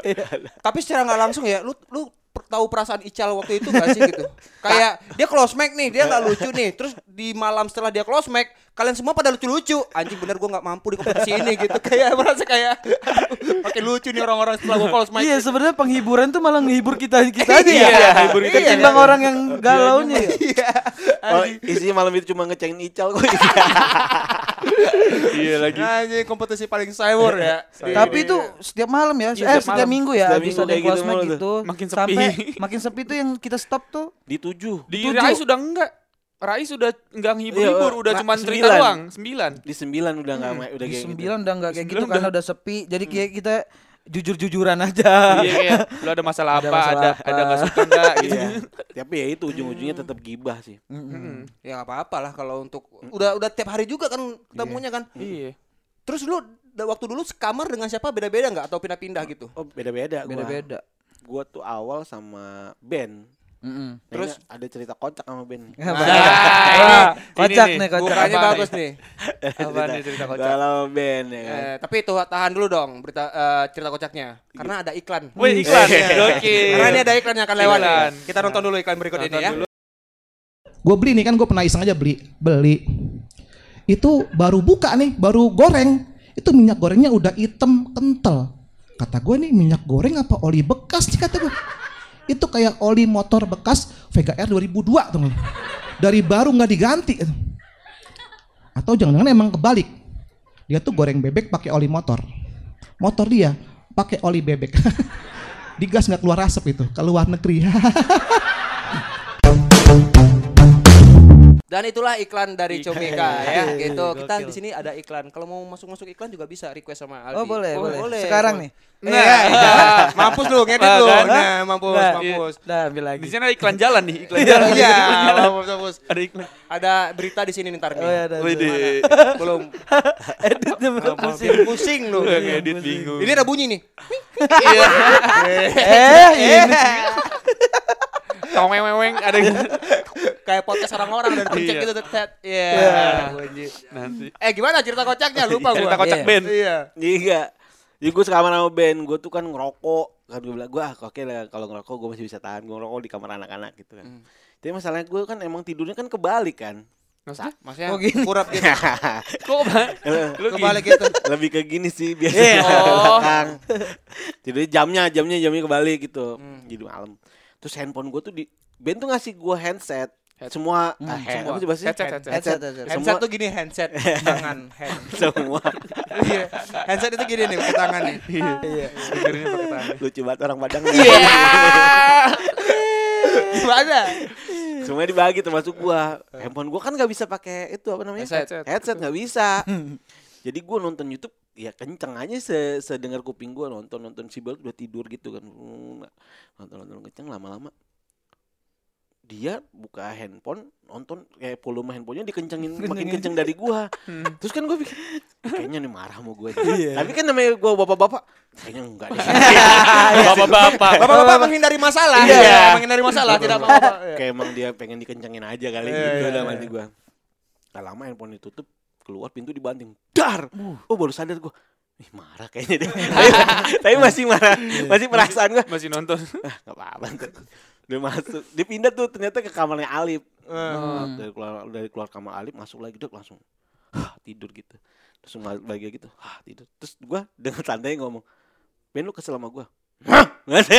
Speaker 1: tapi secara nggak langsung ya lu lu per- tahu perasaan Ical waktu itu gak sih gitu? Kayak dia close mic nih, dia nggak lucu nih. Terus di malam setelah dia close mic, kalian semua pada lucu-lucu. Anjing bener gua nggak mampu di kompetisi ini gitu. Kayak merasa kayak aduh, makin lucu nih orang-orang setelah gua close mic.
Speaker 2: Iya, sebenarnya penghiburan tuh malah ngehibur kita kita aja
Speaker 3: Iya,
Speaker 2: ya.
Speaker 3: hibur kita
Speaker 2: Ketimbang orang yang galaunya ya.
Speaker 1: Iya.
Speaker 4: Oh, isinya malam itu cuma ngecengin Ical kok.
Speaker 3: Iya lagi.
Speaker 1: Anjing kompetisi paling cyber ya.
Speaker 2: Tapi itu setiap malam ya,
Speaker 3: Iya,
Speaker 2: eh
Speaker 3: setiap
Speaker 2: setiap
Speaker 3: malam.
Speaker 2: minggu ya,
Speaker 4: Setiap
Speaker 2: habis
Speaker 4: minggu
Speaker 2: ada
Speaker 4: kayak
Speaker 2: kelas
Speaker 4: gitu
Speaker 2: mic
Speaker 4: mulu tuh.
Speaker 2: gitu.
Speaker 3: Makin sepi.
Speaker 2: Sampai makin sepi tuh yang kita stop tuh.
Speaker 4: Di tujuh.
Speaker 3: Di
Speaker 2: Tujuh.
Speaker 3: Rai sudah enggak. Rai sudah enggak
Speaker 4: Iya,
Speaker 3: ngibur-hibur, udah
Speaker 4: Ra-
Speaker 3: cuma cerita
Speaker 4: sembilan.
Speaker 3: doang, sembilan.
Speaker 4: Di sembilan udah nggak ma- udah
Speaker 2: Di
Speaker 4: kayak gitu.
Speaker 2: sembilan udah nggak kayak
Speaker 3: Di
Speaker 2: gitu
Speaker 3: sembilan
Speaker 2: karena udah sepi. Jadi kayak kita jujur-jujuran aja.
Speaker 3: Iya, kayak, lu ada masalah
Speaker 2: Ada
Speaker 3: apa,
Speaker 2: masalah
Speaker 3: ada
Speaker 2: apa.
Speaker 3: ada nggak suka enggak gitu.
Speaker 4: Iya. Tapi ya itu ujung-ujungnya tetap gibah sih.
Speaker 2: Hmm.
Speaker 3: Mm-mm.
Speaker 1: Ya nggak apa-apa lah kalau untuk udah udah tiap hari juga kan ketemunya kan.
Speaker 3: Iya.
Speaker 1: Terus lu da- waktu dulu sekamar dengan siapa beda-beda nggak atau pindah-pindah gitu?
Speaker 4: Oh beda-beda. gua.
Speaker 2: Beda-beda.
Speaker 4: Gua tuh awal sama Ben.
Speaker 2: Mm-mm.
Speaker 4: Terus Nah, iya, ada cerita kocak sama
Speaker 2: Nah,
Speaker 3: Nah,
Speaker 4: Ben.
Speaker 3: ini-
Speaker 2: Oh, kocak
Speaker 3: ini
Speaker 2: nih,
Speaker 3: nih,
Speaker 2: kocak.
Speaker 1: Bukannya
Speaker 3: apa nih?
Speaker 1: bagus nih.
Speaker 3: Apa nih cerita
Speaker 4: Gua
Speaker 3: kocak?
Speaker 4: sama Ben ya kan.
Speaker 1: Eh, tapi itu tahan dulu dong berita eh, cerita kocaknya karena ada iklan.
Speaker 3: Wih, iklan.
Speaker 4: Iya.
Speaker 3: Oke.
Speaker 1: Karena ini ada iklan yang akan lewat.
Speaker 3: Iklan.
Speaker 1: nih. Kita nonton dulu iklan berikut ini ya.
Speaker 5: gue beli nih kan gue pernah iseng aja beli beli itu baru buka nih baru goreng itu minyak gorengnya udah hitam kental kata gue nih minyak goreng apa oli bekas nih kata gue itu kayak oli motor bekas Vega R 2002 tuh dari baru nggak diganti atau jangan-jangan emang kebalik dia tuh goreng bebek pakai oli motor motor dia pakai oli bebek digas nggak keluar asap itu ke luar negeri
Speaker 1: Dan itulah iklan dari Comika ya. Gitu. Kita di sini ada iklan. Kalau mau masuk-masuk iklan juga bisa request sama Aldi.
Speaker 2: Oh, boleh, boleh. Sekarang nih.
Speaker 1: Eh, iya, iya. mampus lu, ngedit
Speaker 3: Nah,
Speaker 1: lu.
Speaker 3: kan?
Speaker 1: Nah, mampus,
Speaker 2: Nah,
Speaker 1: mampus.
Speaker 2: Udah ambil
Speaker 3: Di
Speaker 2: lagi.
Speaker 3: sini ada iklan jalan nih, iklan
Speaker 1: Iya,
Speaker 3: jalan.
Speaker 1: iya,
Speaker 3: Iklan jalan.
Speaker 1: mampus, mampus.
Speaker 3: Ada iklan.
Speaker 1: Ada berita di sini nih, ntar
Speaker 2: Oh, iya,
Speaker 1: nih.
Speaker 2: ada.
Speaker 3: Wih,
Speaker 1: Belum.
Speaker 2: Editnya belum pusing.
Speaker 1: Pusing, pusing lu. Iya.
Speaker 3: ngedit bingung.
Speaker 1: Ini ada bunyi nih.
Speaker 3: Iya.
Speaker 2: Eh, ini.
Speaker 3: Tong weng ada
Speaker 1: Kayak podcast orang-orang dan pencet
Speaker 3: Iya.
Speaker 1: gitu. tet. Iya.
Speaker 3: nanti.
Speaker 1: Eh gimana cerita kocaknya? Lupa gua.
Speaker 3: Cerita kocak
Speaker 1: Iya.
Speaker 3: Ben.
Speaker 1: Iya.
Speaker 4: Jadi enggak. Jadi gue sekamar sama Ben, gue tuh kan ngerokok Kan gue bilang, gue ah oke lah kalau ngerokok gue Hmm. masih bisa tahan Gue ngerokok di kamar anak-anak gitu kan Tapi masalahnya gue kan emang tidurnya kan kebalik kan
Speaker 3: Maksudnya?
Speaker 1: Maksudnya
Speaker 2: Oh, gini.
Speaker 1: kurap gitu.
Speaker 3: Kok Bang?
Speaker 4: Eh,
Speaker 2: Iya.
Speaker 3: Lu
Speaker 1: Kebalik
Speaker 3: gini?
Speaker 1: gitu.
Speaker 4: Lebih ke gini sih biasanya.
Speaker 3: Oh.
Speaker 4: Kang. Jadi jamnya, jamnya, jamnya kebalik gitu. Jadi malam. Terus handphone gue tuh di Ben tuh ngasih gue handset. Semua ah, hand-
Speaker 3: semua.
Speaker 4: apa sih bahasanya?
Speaker 3: Headset, headset.
Speaker 2: Headset, headset.
Speaker 1: Handset
Speaker 4: Semua-
Speaker 1: tuh gini handset tangan hand.
Speaker 4: Semua.
Speaker 1: Iya. handset itu gini nih pakai tangan nih.
Speaker 2: Iya.
Speaker 3: Dengerinnya gitu, pakai tangan.
Speaker 4: Lucu banget orang Padang.
Speaker 1: Iya. Gimana?
Speaker 4: Semuanya dibagi termasuk gua. Handphone gua kan nggak bisa pakai itu apa namanya?
Speaker 1: Headset.
Speaker 4: Headset nggak bisa. Jadi gua nonton YouTube ya kenceng aja se sedengar kuping gua nonton nonton si Bel udah tidur gitu kan. Nonton nonton kenceng lama-lama dia buka handphone nonton kayak volume handphonenya dikencengin makin kenceng dari gua
Speaker 1: Hmm.
Speaker 4: terus kan gua pikir "Ih, kayaknya nih marah sama gua
Speaker 1: Iya.
Speaker 4: tapi kan namanya gua bapak-bapak kayaknya enggak deh
Speaker 3: Bapak-bapak.
Speaker 1: Bapak-bapak menghindari masalah.
Speaker 3: Iya.
Speaker 1: menghindari masalah tidak apa-apa. Iya.
Speaker 4: kayak emang dia pengen dikencengin aja kali
Speaker 1: Iya,
Speaker 4: gitu
Speaker 1: iya,
Speaker 4: dalam
Speaker 1: iya.
Speaker 4: hati gua. Gak lama handphone ditutup, keluar pintu dibanting. Dar.
Speaker 1: Uh.
Speaker 4: Oh baru sadar gua. Ih marah kayaknya deh. tapi, tapi masih marah,
Speaker 1: Iya.
Speaker 4: masih perasaan gua.
Speaker 3: Masih nonton.
Speaker 4: Ah, gak apa-apa. ntar." Dia masuk, dia pindah tuh ternyata ke kamarnya Alif.
Speaker 1: Hmm.
Speaker 4: Dari keluar dari keluar kamar Alif masuk lagi dok langsung "Hah," tidur gitu. Terus mal- bahagia gitu, "Hah," tidur. Terus gua dengan santai ngomong, Ben lu kesel sama gua. Hah? Nggak ada.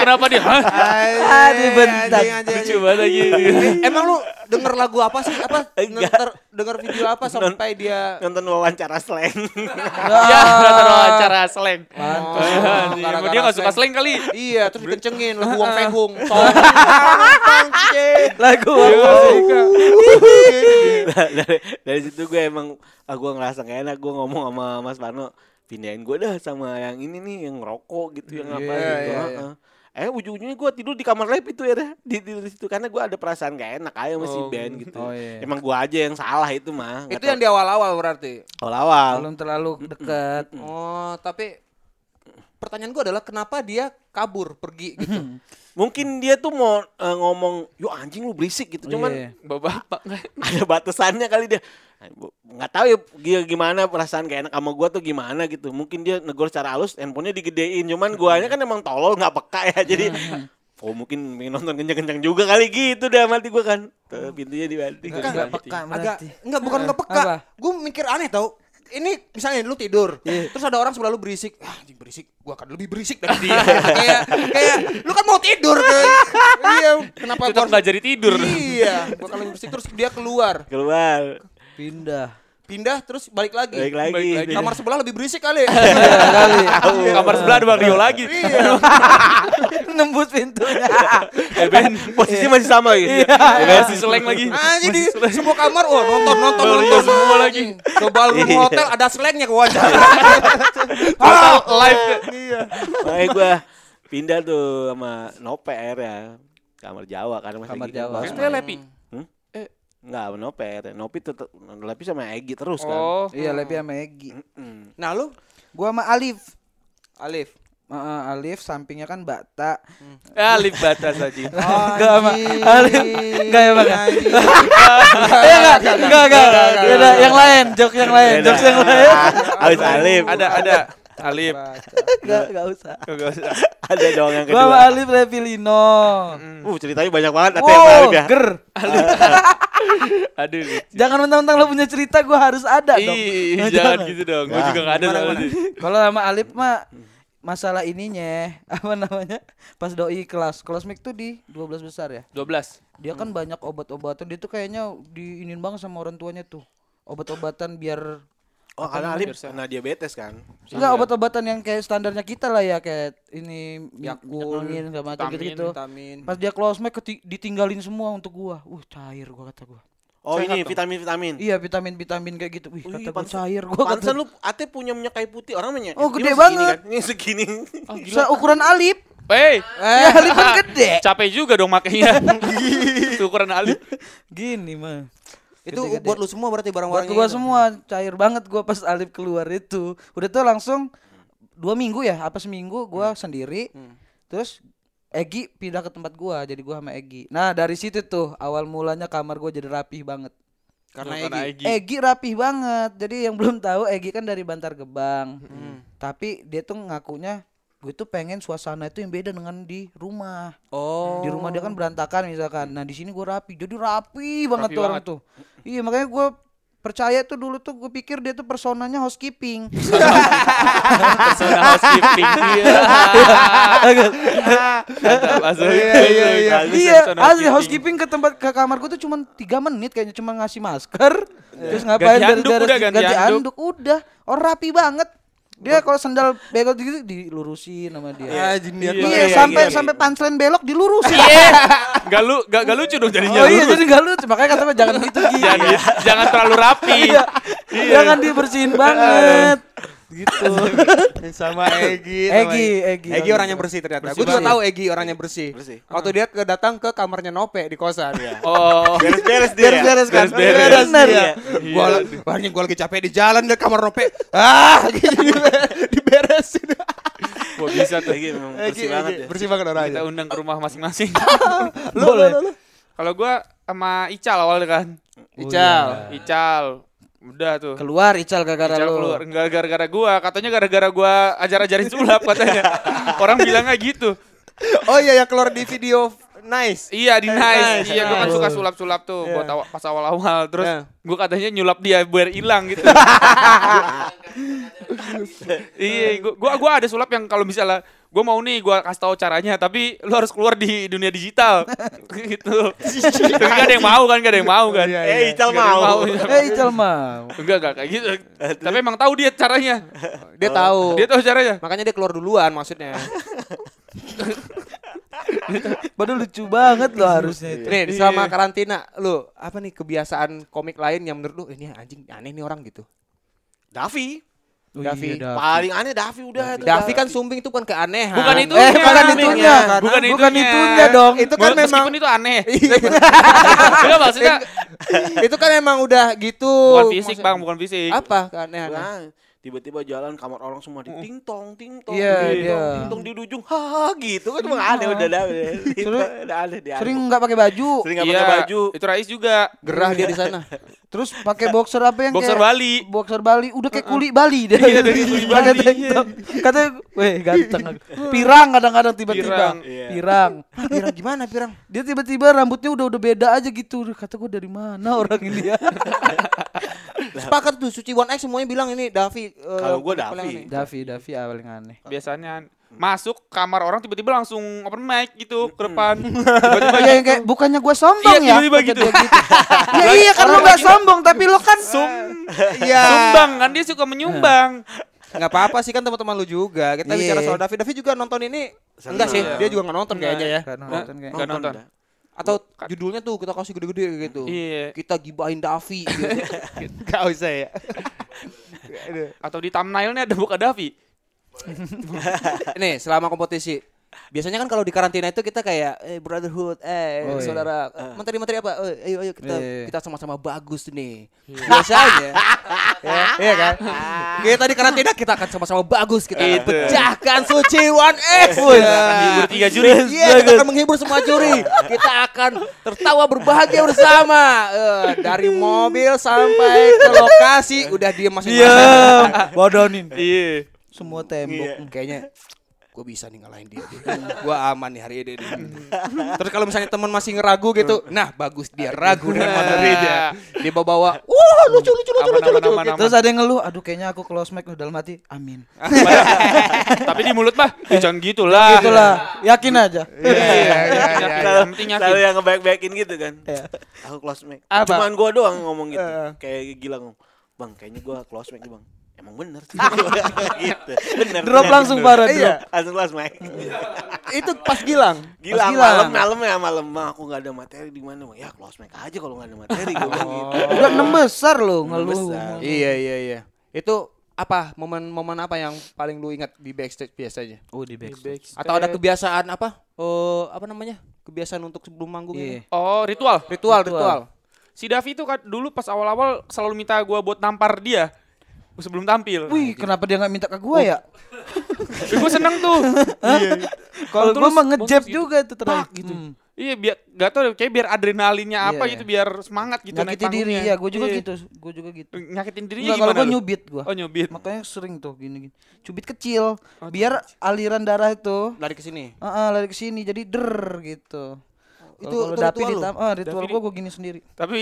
Speaker 3: Kenapa dia? Hah?
Speaker 1: Aduh,
Speaker 2: bentar.
Speaker 1: Iya,
Speaker 3: Lucu banget lagi.
Speaker 1: Eh, Emang lu denger lagu apa sih? Apa
Speaker 4: Enggak.
Speaker 1: denger, denger video apa sampai dia
Speaker 4: Nonton wawancara slang.
Speaker 3: Ya, taruh acara slang.
Speaker 1: Mantap.
Speaker 3: Oh, emang dia gak suka slang kali.
Speaker 1: Iya, terus dikencengin lagu Wong Fehung. Sombong cie.
Speaker 2: Lagu.
Speaker 3: Iya,
Speaker 4: Nah, dari, dari situ gue emang ah, gue ngerasa gak enak gue ngomong sama Mas Parno pindahin gue dah sama yang ini nih yang ngerokok gitu yang apa
Speaker 1: Iya,
Speaker 4: gitu
Speaker 1: iya,
Speaker 4: heeh. eh ujung-ujungnya gue tidur di kamar lab itu ya dah di, di, di situ karena gue ada perasaan gak enak aja sama si
Speaker 1: Oh.
Speaker 4: Ben gitu
Speaker 2: Oh, iya.
Speaker 4: emang gue aja yang salah itu mah
Speaker 1: Itu yang di awal-awal berarti.
Speaker 4: awal-awal
Speaker 2: Belum terlalu dekat.
Speaker 1: Oh, tapi pertanyaan gue adalah kenapa dia kabur pergi gitu.
Speaker 4: mungkin dia tuh mau eh, ngomong yuk anjing lu berisik
Speaker 1: Oh,
Speaker 4: gitu cuman
Speaker 2: Iya.
Speaker 3: Bapak-bapak.
Speaker 4: ada batasannya kali dia Ah, bu- nggak tahu ya dia gimana perasaan gak enak sama gua tuh gimana gitu mungkin dia negor secara halus handphonenya digedein cuman guanya kan emang tolol nggak peka ya jadi oh mungkin pengen nonton kencang-kencang juga kali gitu dah mati gua kan Tuh, pintunya dibanting
Speaker 1: Nggak,
Speaker 2: Hmm. Nggak peka
Speaker 1: Agak
Speaker 2: berarti.
Speaker 1: enggak bukan enggak peka.
Speaker 2: Apa?
Speaker 1: Gue mikir aneh tau. Ini misalnya lu tidur,
Speaker 2: Iya.
Speaker 1: terus ada orang sebelah lu berisik, ah, anjing berisik, gua akan lebih berisik dari dia. kayak kayak lu kan mau tidur kan. iya, kenapa
Speaker 3: Tetap
Speaker 1: harus-
Speaker 3: gak jadi tidur.
Speaker 1: Iya, gua akan lebih berisik terus dia keluar.
Speaker 4: keluar
Speaker 2: Pindah.
Speaker 1: Pindah terus balik lagi.
Speaker 4: balik lagi,
Speaker 3: Balik lagi.
Speaker 1: Kamar sebelah lebih berisik kali.
Speaker 2: Iya.
Speaker 3: Iya. Kamar sebelah ada Bang Rio lagi.
Speaker 1: iya.
Speaker 2: Nembus pintunya.
Speaker 4: Eh, Ben, posisinya masih sama
Speaker 3: Iya.
Speaker 2: Iya.
Speaker 4: gitu
Speaker 3: Masih slang lagi.
Speaker 1: Anjing di semua Ah, kamar wah nonton nonton
Speaker 3: Baru
Speaker 1: nonton
Speaker 3: semua lagi.
Speaker 1: Ke ballroom
Speaker 4: Iya.
Speaker 1: hotel ada slangnya ke wajah. Ah, iya.
Speaker 3: Total live.
Speaker 4: makanya gua pindah tuh sama Nope akhirnya kamar Jawa karena masih
Speaker 2: Kamar
Speaker 4: gitu.
Speaker 2: Jawa.
Speaker 4: Bos,
Speaker 3: Itu ya Lepi.
Speaker 4: nggak sama Nope akhirnya. Nope tetap Lepi sama Egi terus kan
Speaker 3: Oh.
Speaker 2: Iya, lebih sama Egi.
Speaker 4: Mm.
Speaker 1: Nah lu
Speaker 2: Gua sama Alif.
Speaker 1: Alif.
Speaker 2: Heeh, Alif sampingnya kan Bata.
Speaker 3: Ya, lip batas aja.
Speaker 2: Enggak sama Alif. Enggak ya, Bang. Eh, enggak, enggak, enggak. Beda, yang lain, jok yang lain,
Speaker 4: Beda.
Speaker 2: jok Eh, yang lain.
Speaker 4: Alif Alif.
Speaker 3: Ada, ada. Alif.
Speaker 2: Enggak, enggak usah.
Speaker 3: Gak usah.
Speaker 4: ada dong yang
Speaker 2: Gua sama
Speaker 4: kedua.
Speaker 2: Alif Revilino.
Speaker 4: Uh, ceritanya banyak banget nanti ya, Pak
Speaker 2: Wow,
Speaker 4: Alif ya.
Speaker 2: ger.
Speaker 3: Aduh.
Speaker 2: Jangan mentang-mentang lo punya cerita gua harus ada dong.
Speaker 3: Ih,
Speaker 2: Nah,
Speaker 3: jangan gitu dong. Gue
Speaker 4: Nah.
Speaker 3: juga gak ada soalnya.
Speaker 2: Kalau sama Alif mah masalah ininya apa namanya? Pas doi kelas, kelas mik tuh di 12 besar ya.
Speaker 3: 12.
Speaker 2: Dia kan banyak obat-obatan, dia tuh kayaknya diinin banget sama orang tuanya tuh. Obat-obatan biar
Speaker 4: Oh, karena Alif kena diabetes kan.
Speaker 2: Enggak obat-obatan yang kayak standarnya kita lah ya kayak ini yakulin segala macam
Speaker 3: vitamin,
Speaker 2: gitu-gitu.
Speaker 1: Vitamin.
Speaker 2: Pas dia close mic keti- ditinggalin semua untuk gua. Wah, cair gua kata gua.
Speaker 4: Oh, ini vitamin-vitamin.
Speaker 2: Iya, vitamin-vitamin kayak gitu. Wih, kata
Speaker 4: Oh, iya,
Speaker 2: gua
Speaker 4: pantes-
Speaker 2: cair gua kata.
Speaker 4: Pantesan lu ate punya minyak kayu putih orang punya.
Speaker 2: Oh,
Speaker 4: Dia
Speaker 2: gede
Speaker 4: mah segini
Speaker 2: banget. Oh,
Speaker 4: kan. Ini segini.
Speaker 2: Seukuran Alif.
Speaker 3: Hey,
Speaker 2: Ya, Alif kan gede.
Speaker 3: capek juga dong makanya. Itu ukuran Alif.
Speaker 2: Gini mah.
Speaker 1: Itu
Speaker 2: Gede-gede.
Speaker 1: buat lu semua berarti
Speaker 2: Buat
Speaker 1: barang-barangnya.
Speaker 2: gua
Speaker 1: itu.
Speaker 2: semua cair banget gua pas Alif keluar itu. Udah tuh langsung dua minggu ya, apa seminggu gua sendiri. Terus Egi pindah ke tempat gua, jadi gua sama Egi. Nah dari situ tuh awal mulanya kamar gua jadi rapih banget.
Speaker 1: Karena
Speaker 3: Tuh,
Speaker 1: Egi.
Speaker 3: Egi.
Speaker 2: Egi rapih banget. Jadi yang belum tahu Egi kan dari Bantar Gebang. Tapi dia tuh ngakunya gue tuh pengen suasana itu yang beda dengan di rumah
Speaker 1: Oh.
Speaker 2: di rumah dia kan berantakan misalkan nah di sini gue rapi jadi rapi banget
Speaker 3: Rapi
Speaker 2: tuh orang
Speaker 3: banget.
Speaker 2: tuh iya makanya gue percaya tuh dulu tuh gue pikir dia tuh personanya housekeeping
Speaker 3: Persona housekeeping. Iya. Mantap, asli.
Speaker 1: Iya, iya, iya.
Speaker 3: Bagus,
Speaker 2: iya
Speaker 3: persona
Speaker 2: asli housekeeping ke tempat ke kamar gue tuh cuma tiga menit kayaknya cuma ngasih masker terus ngapain
Speaker 3: Iya. Ganti anduk,
Speaker 2: beres-beres,
Speaker 3: udah ganti anduk.
Speaker 2: anduk udah orang rapi banget dia kalau sendal belok gitu dilurusin sama dia
Speaker 1: Ah, jin niat
Speaker 3: Iya,
Speaker 2: Iya,
Speaker 1: banget.
Speaker 2: sampai
Speaker 1: iya.
Speaker 2: sampai punchline belok dilurusin.
Speaker 3: Gak lu, gak, gak lucu dong jadinya.
Speaker 2: Oh
Speaker 3: lu.
Speaker 2: iya jadi gak lucu makanya kata jangan gitu Gi.
Speaker 3: jangan, jangan terlalu rapi.
Speaker 2: Iya. Jangan dibersihin
Speaker 3: Iya.
Speaker 2: banget. Eh, gitu.
Speaker 1: sama
Speaker 3: Iya,
Speaker 1: Egi. sama
Speaker 2: Egi, Egi.
Speaker 1: Egi orangnya bersih ternyata.
Speaker 2: Bersih
Speaker 1: Gue juga
Speaker 2: banget.
Speaker 1: tahu Egi orangnya bersih. Iya.
Speaker 4: Bersih.
Speaker 1: Waktu dia ke- datang ke kamarnya Nope di kosan.
Speaker 3: Oh.
Speaker 4: Beres-beres ya? dia.
Speaker 1: Beres-beres kan?
Speaker 3: Beres-beres.
Speaker 2: Bener.
Speaker 1: Iya. Gua la- warnanya gua lagi capek di jalan deh kamar Nope. Ah, gitu diberesin.
Speaker 3: Gua bisa tuh.
Speaker 4: Lagi memang
Speaker 1: Egi,
Speaker 4: bersih banget
Speaker 1: Egi.
Speaker 4: ya.
Speaker 1: Bersih banget
Speaker 2: Iya.
Speaker 1: orangnya.
Speaker 3: Kita undang ke rumah masing-masing.
Speaker 1: Lu,
Speaker 2: Boleh.
Speaker 1: lu, lu, lu.
Speaker 3: Kalau gua sama Ical awalnya kan.
Speaker 1: Ical.
Speaker 3: Ical. Udah
Speaker 2: Oh, iya.
Speaker 3: tuh.
Speaker 2: Ah. Keluar Ical gara-gara
Speaker 3: Ical
Speaker 2: lu.
Speaker 3: keluar Enggak gara-gara gua, katanya gara-gara gua ajar-ajarin sulap katanya. Orang bilangnya gitu.
Speaker 1: Oh iya yang keluar di video nice.
Speaker 3: Iya di
Speaker 1: Eh,
Speaker 3: nice.
Speaker 1: nice,
Speaker 3: Iya gua kan
Speaker 1: nice.
Speaker 3: suka sulap-sulap tuh buat awal- pas awal-awal. Terus
Speaker 1: Iya.
Speaker 3: gua katanya nyulap dia biar hilang gitu. iya, gua, gua gua ada sulap yang kalau misalnya gua mau nih gua kasih tahu caranya tapi lu harus keluar di dunia digital. gitu. Tapi gak ada yang mau kan, gak ada yang mau kan.
Speaker 1: Iya,
Speaker 4: Eh, Ical
Speaker 3: Gak ada yang
Speaker 4: mau.
Speaker 2: Eh Ical mau.
Speaker 3: Enggak, enggak kayak gitu. Tapi emang tahu dia caranya.
Speaker 1: Oh. Dia tahu.
Speaker 3: Dia tahu caranya.
Speaker 1: Makanya dia keluar duluan maksudnya.
Speaker 2: Padahal lucu banget lo harusnya itu.
Speaker 1: Nih selama karantina lu apa nih kebiasaan komik lain yang menurut lu ini anjing aneh nih orang gitu.
Speaker 4: Davi.
Speaker 2: Oh,
Speaker 1: Davi.
Speaker 2: iya, Davi.
Speaker 4: Paling aneh Davi udah. tuh,
Speaker 1: Davi kan sumbing itu bukan keanehan.
Speaker 3: Bukan itu.
Speaker 2: Eh bukan
Speaker 3: Iya,
Speaker 2: itunya.
Speaker 1: iya.
Speaker 2: Bukan
Speaker 3: Bukan
Speaker 2: itunya,
Speaker 3: itunya.
Speaker 2: dong.
Speaker 1: Itu kan
Speaker 3: Meskipun
Speaker 1: memang
Speaker 3: itu aneh.
Speaker 1: Iya.
Speaker 3: Enggak maksudnya
Speaker 1: itu kan emang udah gitu.
Speaker 3: bukan fisik,
Speaker 1: Maksudnya-
Speaker 3: Bang, bukan fisik.
Speaker 1: Apa keanehan?
Speaker 4: Nah, tiba-tiba jalan kamar orang semua di ting tong ting tong
Speaker 2: Iya,
Speaker 4: ting
Speaker 2: iya.
Speaker 4: tong ting tong di ujung haha gitu kan emang aneh udah dah udah udah aneh
Speaker 3: Kan.
Speaker 4: dia
Speaker 2: Sering nggak pakai baju.
Speaker 4: sering nggak pakai baju
Speaker 3: Iya. Itu Rais juga.
Speaker 1: Gerah dia di sana.
Speaker 2: Terus pakai boxer apa yang
Speaker 3: Boxer
Speaker 2: kayak-
Speaker 3: Bali.
Speaker 2: Boxer Bali udah kayak kuli Bali deh.
Speaker 3: Iya, dari kuli Bali,
Speaker 2: Pakai tank
Speaker 3: iya.
Speaker 2: top. Katanya, weh ganteng. Pirang kadang-kadang tiba-tiba.
Speaker 3: Pirang,
Speaker 2: Pirang.
Speaker 4: iya.
Speaker 1: Pirang gimana Pirang?
Speaker 2: Dia tiba-tiba rambutnya udah udah beda aja gitu. Udah, Kata gue dari mana orang ini ya?
Speaker 1: Sepakat tuh Suci One X semuanya bilang ini Davi. eh,
Speaker 4: Kalau gua
Speaker 1: paling aneh.
Speaker 4: Davi.
Speaker 2: Davi, Davi ah, paling aneh.
Speaker 3: Biasanya masuk kamar orang tiba-tiba langsung open mic gitu ke depan. Tiba-tiba gitu.
Speaker 2: Iya yang kayak bukannya gue sombong ya?
Speaker 3: Iya, tiba-tiba
Speaker 2: Kata
Speaker 3: gitu.
Speaker 2: dia ya iya kan lo gak sombong tapi lo kan
Speaker 3: sum
Speaker 1: Iya.
Speaker 3: sumbang kan dia suka menyumbang.
Speaker 1: Enggak apa-apa sih kan teman-teman lu juga. Kita
Speaker 2: Iya.
Speaker 1: bicara soal Davi. Davi juga nonton ini.
Speaker 4: Seneng.
Speaker 1: Enggak sih, dia juga nggak nonton kayaknya ya.
Speaker 2: Kan nonton kayak.
Speaker 3: Nggak nonton.
Speaker 4: dah.
Speaker 1: Atau judulnya tuh kita kasih gede-gede gitu.
Speaker 3: Iya.
Speaker 1: Kita gibahin Davi. gitu. Enggak usah ya.
Speaker 3: Iya. Atau di thumbnailnya ada muka Davi.
Speaker 1: Nih, selama kompetisi Biasanya kan kalau di karantina itu kita kayak eh brotherhood, eh
Speaker 2: Oh, iya.
Speaker 1: saudara, eh, menteri-menteri apa? Eh, ayo ayo kita
Speaker 2: Iya, iya.
Speaker 1: kita sama-sama bagus nih. Biasanya. ya, iya kan? Kita di karantina kita akan sama-sama bagus, kita akan
Speaker 3: Itu.
Speaker 1: pecahkan Suci One X.
Speaker 2: Iya.
Speaker 3: Menghibur tiga juri.
Speaker 1: Iya, kita akan menghibur semua juri. Kita akan tertawa berbahagia bersama. Eh, dari mobil sampai ke lokasi udah diem masing-masing.
Speaker 2: Diam, bodohin
Speaker 3: Iya.
Speaker 2: semua tembok.
Speaker 1: Kayaknya gue bisa nih ngalahin dia. gue aman nih hari ini. nih. Terus kalau misalnya teman masih ngeragu gitu, nah bagus dia ragu dengan materinya. Dia bawa, wah lucu lucu lucu
Speaker 3: Aman,
Speaker 1: lucu
Speaker 3: aman,
Speaker 1: lucu.
Speaker 3: aman, Ah. aman.
Speaker 2: Terus ada yang ngeluh, aduh kayaknya aku close mic udah dalam hati. Amin.
Speaker 3: Tapi di mulut mah ya jangan gitu lah.
Speaker 2: Itulah, yakin aja.
Speaker 3: Iya, iya, iya, iya.
Speaker 4: Selalu,
Speaker 3: Yang penting yakin.
Speaker 4: selalu yang ngebaik-baikin gitu kan. Aku close mic.
Speaker 1: Apa?
Speaker 4: Cuman gua doang ngomong gitu. Kayak gila ngomong. Bang, kayaknya gua close mic nih, Bang. Emang bener sih. gitu. Bener.
Speaker 2: Drop
Speaker 4: bener,
Speaker 2: langsung parah,
Speaker 4: bener. Iya,
Speaker 2: drop.
Speaker 4: langsung close mic.
Speaker 1: Itu pas Gilang.
Speaker 4: Gila,
Speaker 2: Pas gila.
Speaker 4: malam malam ya malam bang aku nggak ada materi di mana bang ya close mic aja kalau nggak ada materi gua bilang gitu.
Speaker 2: Udah enam besar lo ngeluh.
Speaker 4: besar.
Speaker 1: Iya iya iya. Itu apa momen-momen apa yang paling lu ingat di backstage biasanya?
Speaker 2: Oh di backstage.
Speaker 1: Atau ada kebiasaan apa? Eh apa namanya? Kebiasaan untuk sebelum manggung ini?
Speaker 2: Iya.
Speaker 3: Oh, ritual.
Speaker 1: Ritual,
Speaker 2: Ritual.
Speaker 1: ritual.
Speaker 3: Si Davi itu kan dulu pas awal-awal selalu minta gua buat nampar dia sebelum tampil.
Speaker 2: Wih, kenapa dia nggak minta ke gua ya?
Speaker 3: Gue seneng tuh. Iya.
Speaker 2: Kalau
Speaker 3: Terus
Speaker 2: gua mah ngejab
Speaker 3: bagus gitu.
Speaker 2: juga itu terus. Hmm.
Speaker 3: Pak gitu. Iya biar gak tau kayak biar adrenalinnya apa
Speaker 2: Iya,
Speaker 3: gitu biar semangat gitu naik
Speaker 2: nyakitin diri
Speaker 3: panggungnya.
Speaker 2: ya gue juga
Speaker 3: Iya.
Speaker 2: gitu gue juga gitu
Speaker 3: Nyakitin dirinya
Speaker 2: Enggak, kalau
Speaker 3: gimana?
Speaker 2: gue
Speaker 3: lu?
Speaker 2: nyubit gue
Speaker 3: Oh nyubit.
Speaker 2: makanya sering tuh gini gini cubit kecil biar aliran darah itu
Speaker 1: Lari ke sini.
Speaker 2: Heeh, lari ke sini jadi der gitu
Speaker 3: Oh,
Speaker 1: Itu- itu
Speaker 2: Kalau- kalau dapi
Speaker 1: ritual lu?
Speaker 2: ditam ah, ritual
Speaker 3: Dapi
Speaker 2: gue gue gini sendiri
Speaker 3: Tapi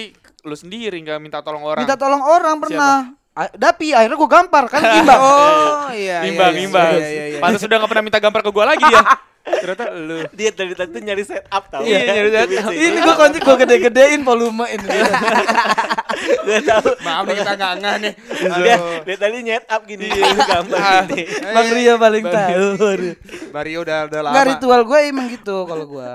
Speaker 3: lu sendiri nggak minta tolong orang.
Speaker 2: minta tolong orang pernah A- dapi akhirnya gue gampar kan imbang
Speaker 1: Oh iya. iya,
Speaker 3: Imbang,
Speaker 1: iya,
Speaker 3: imbang.
Speaker 1: Iya iya iya.
Speaker 3: Pantas sudah gak pernah minta gambar ke gua lagi ya. Ternyata lu.
Speaker 4: Dia dari tadi nyari set up tau. gitu.
Speaker 3: Iya, nyari set up.
Speaker 2: ini gue kunci gue gede-gedein volume ini
Speaker 1: Iya,
Speaker 4: Gue tau.
Speaker 1: Maaf nih kita nggak nggak nih.
Speaker 4: Dia, dia tadi nyet up gini. Gambar gini.
Speaker 2: bang Ria paling tahu
Speaker 1: Mario udah udah lama.
Speaker 2: nggak ritual gue emang gitu kalau gue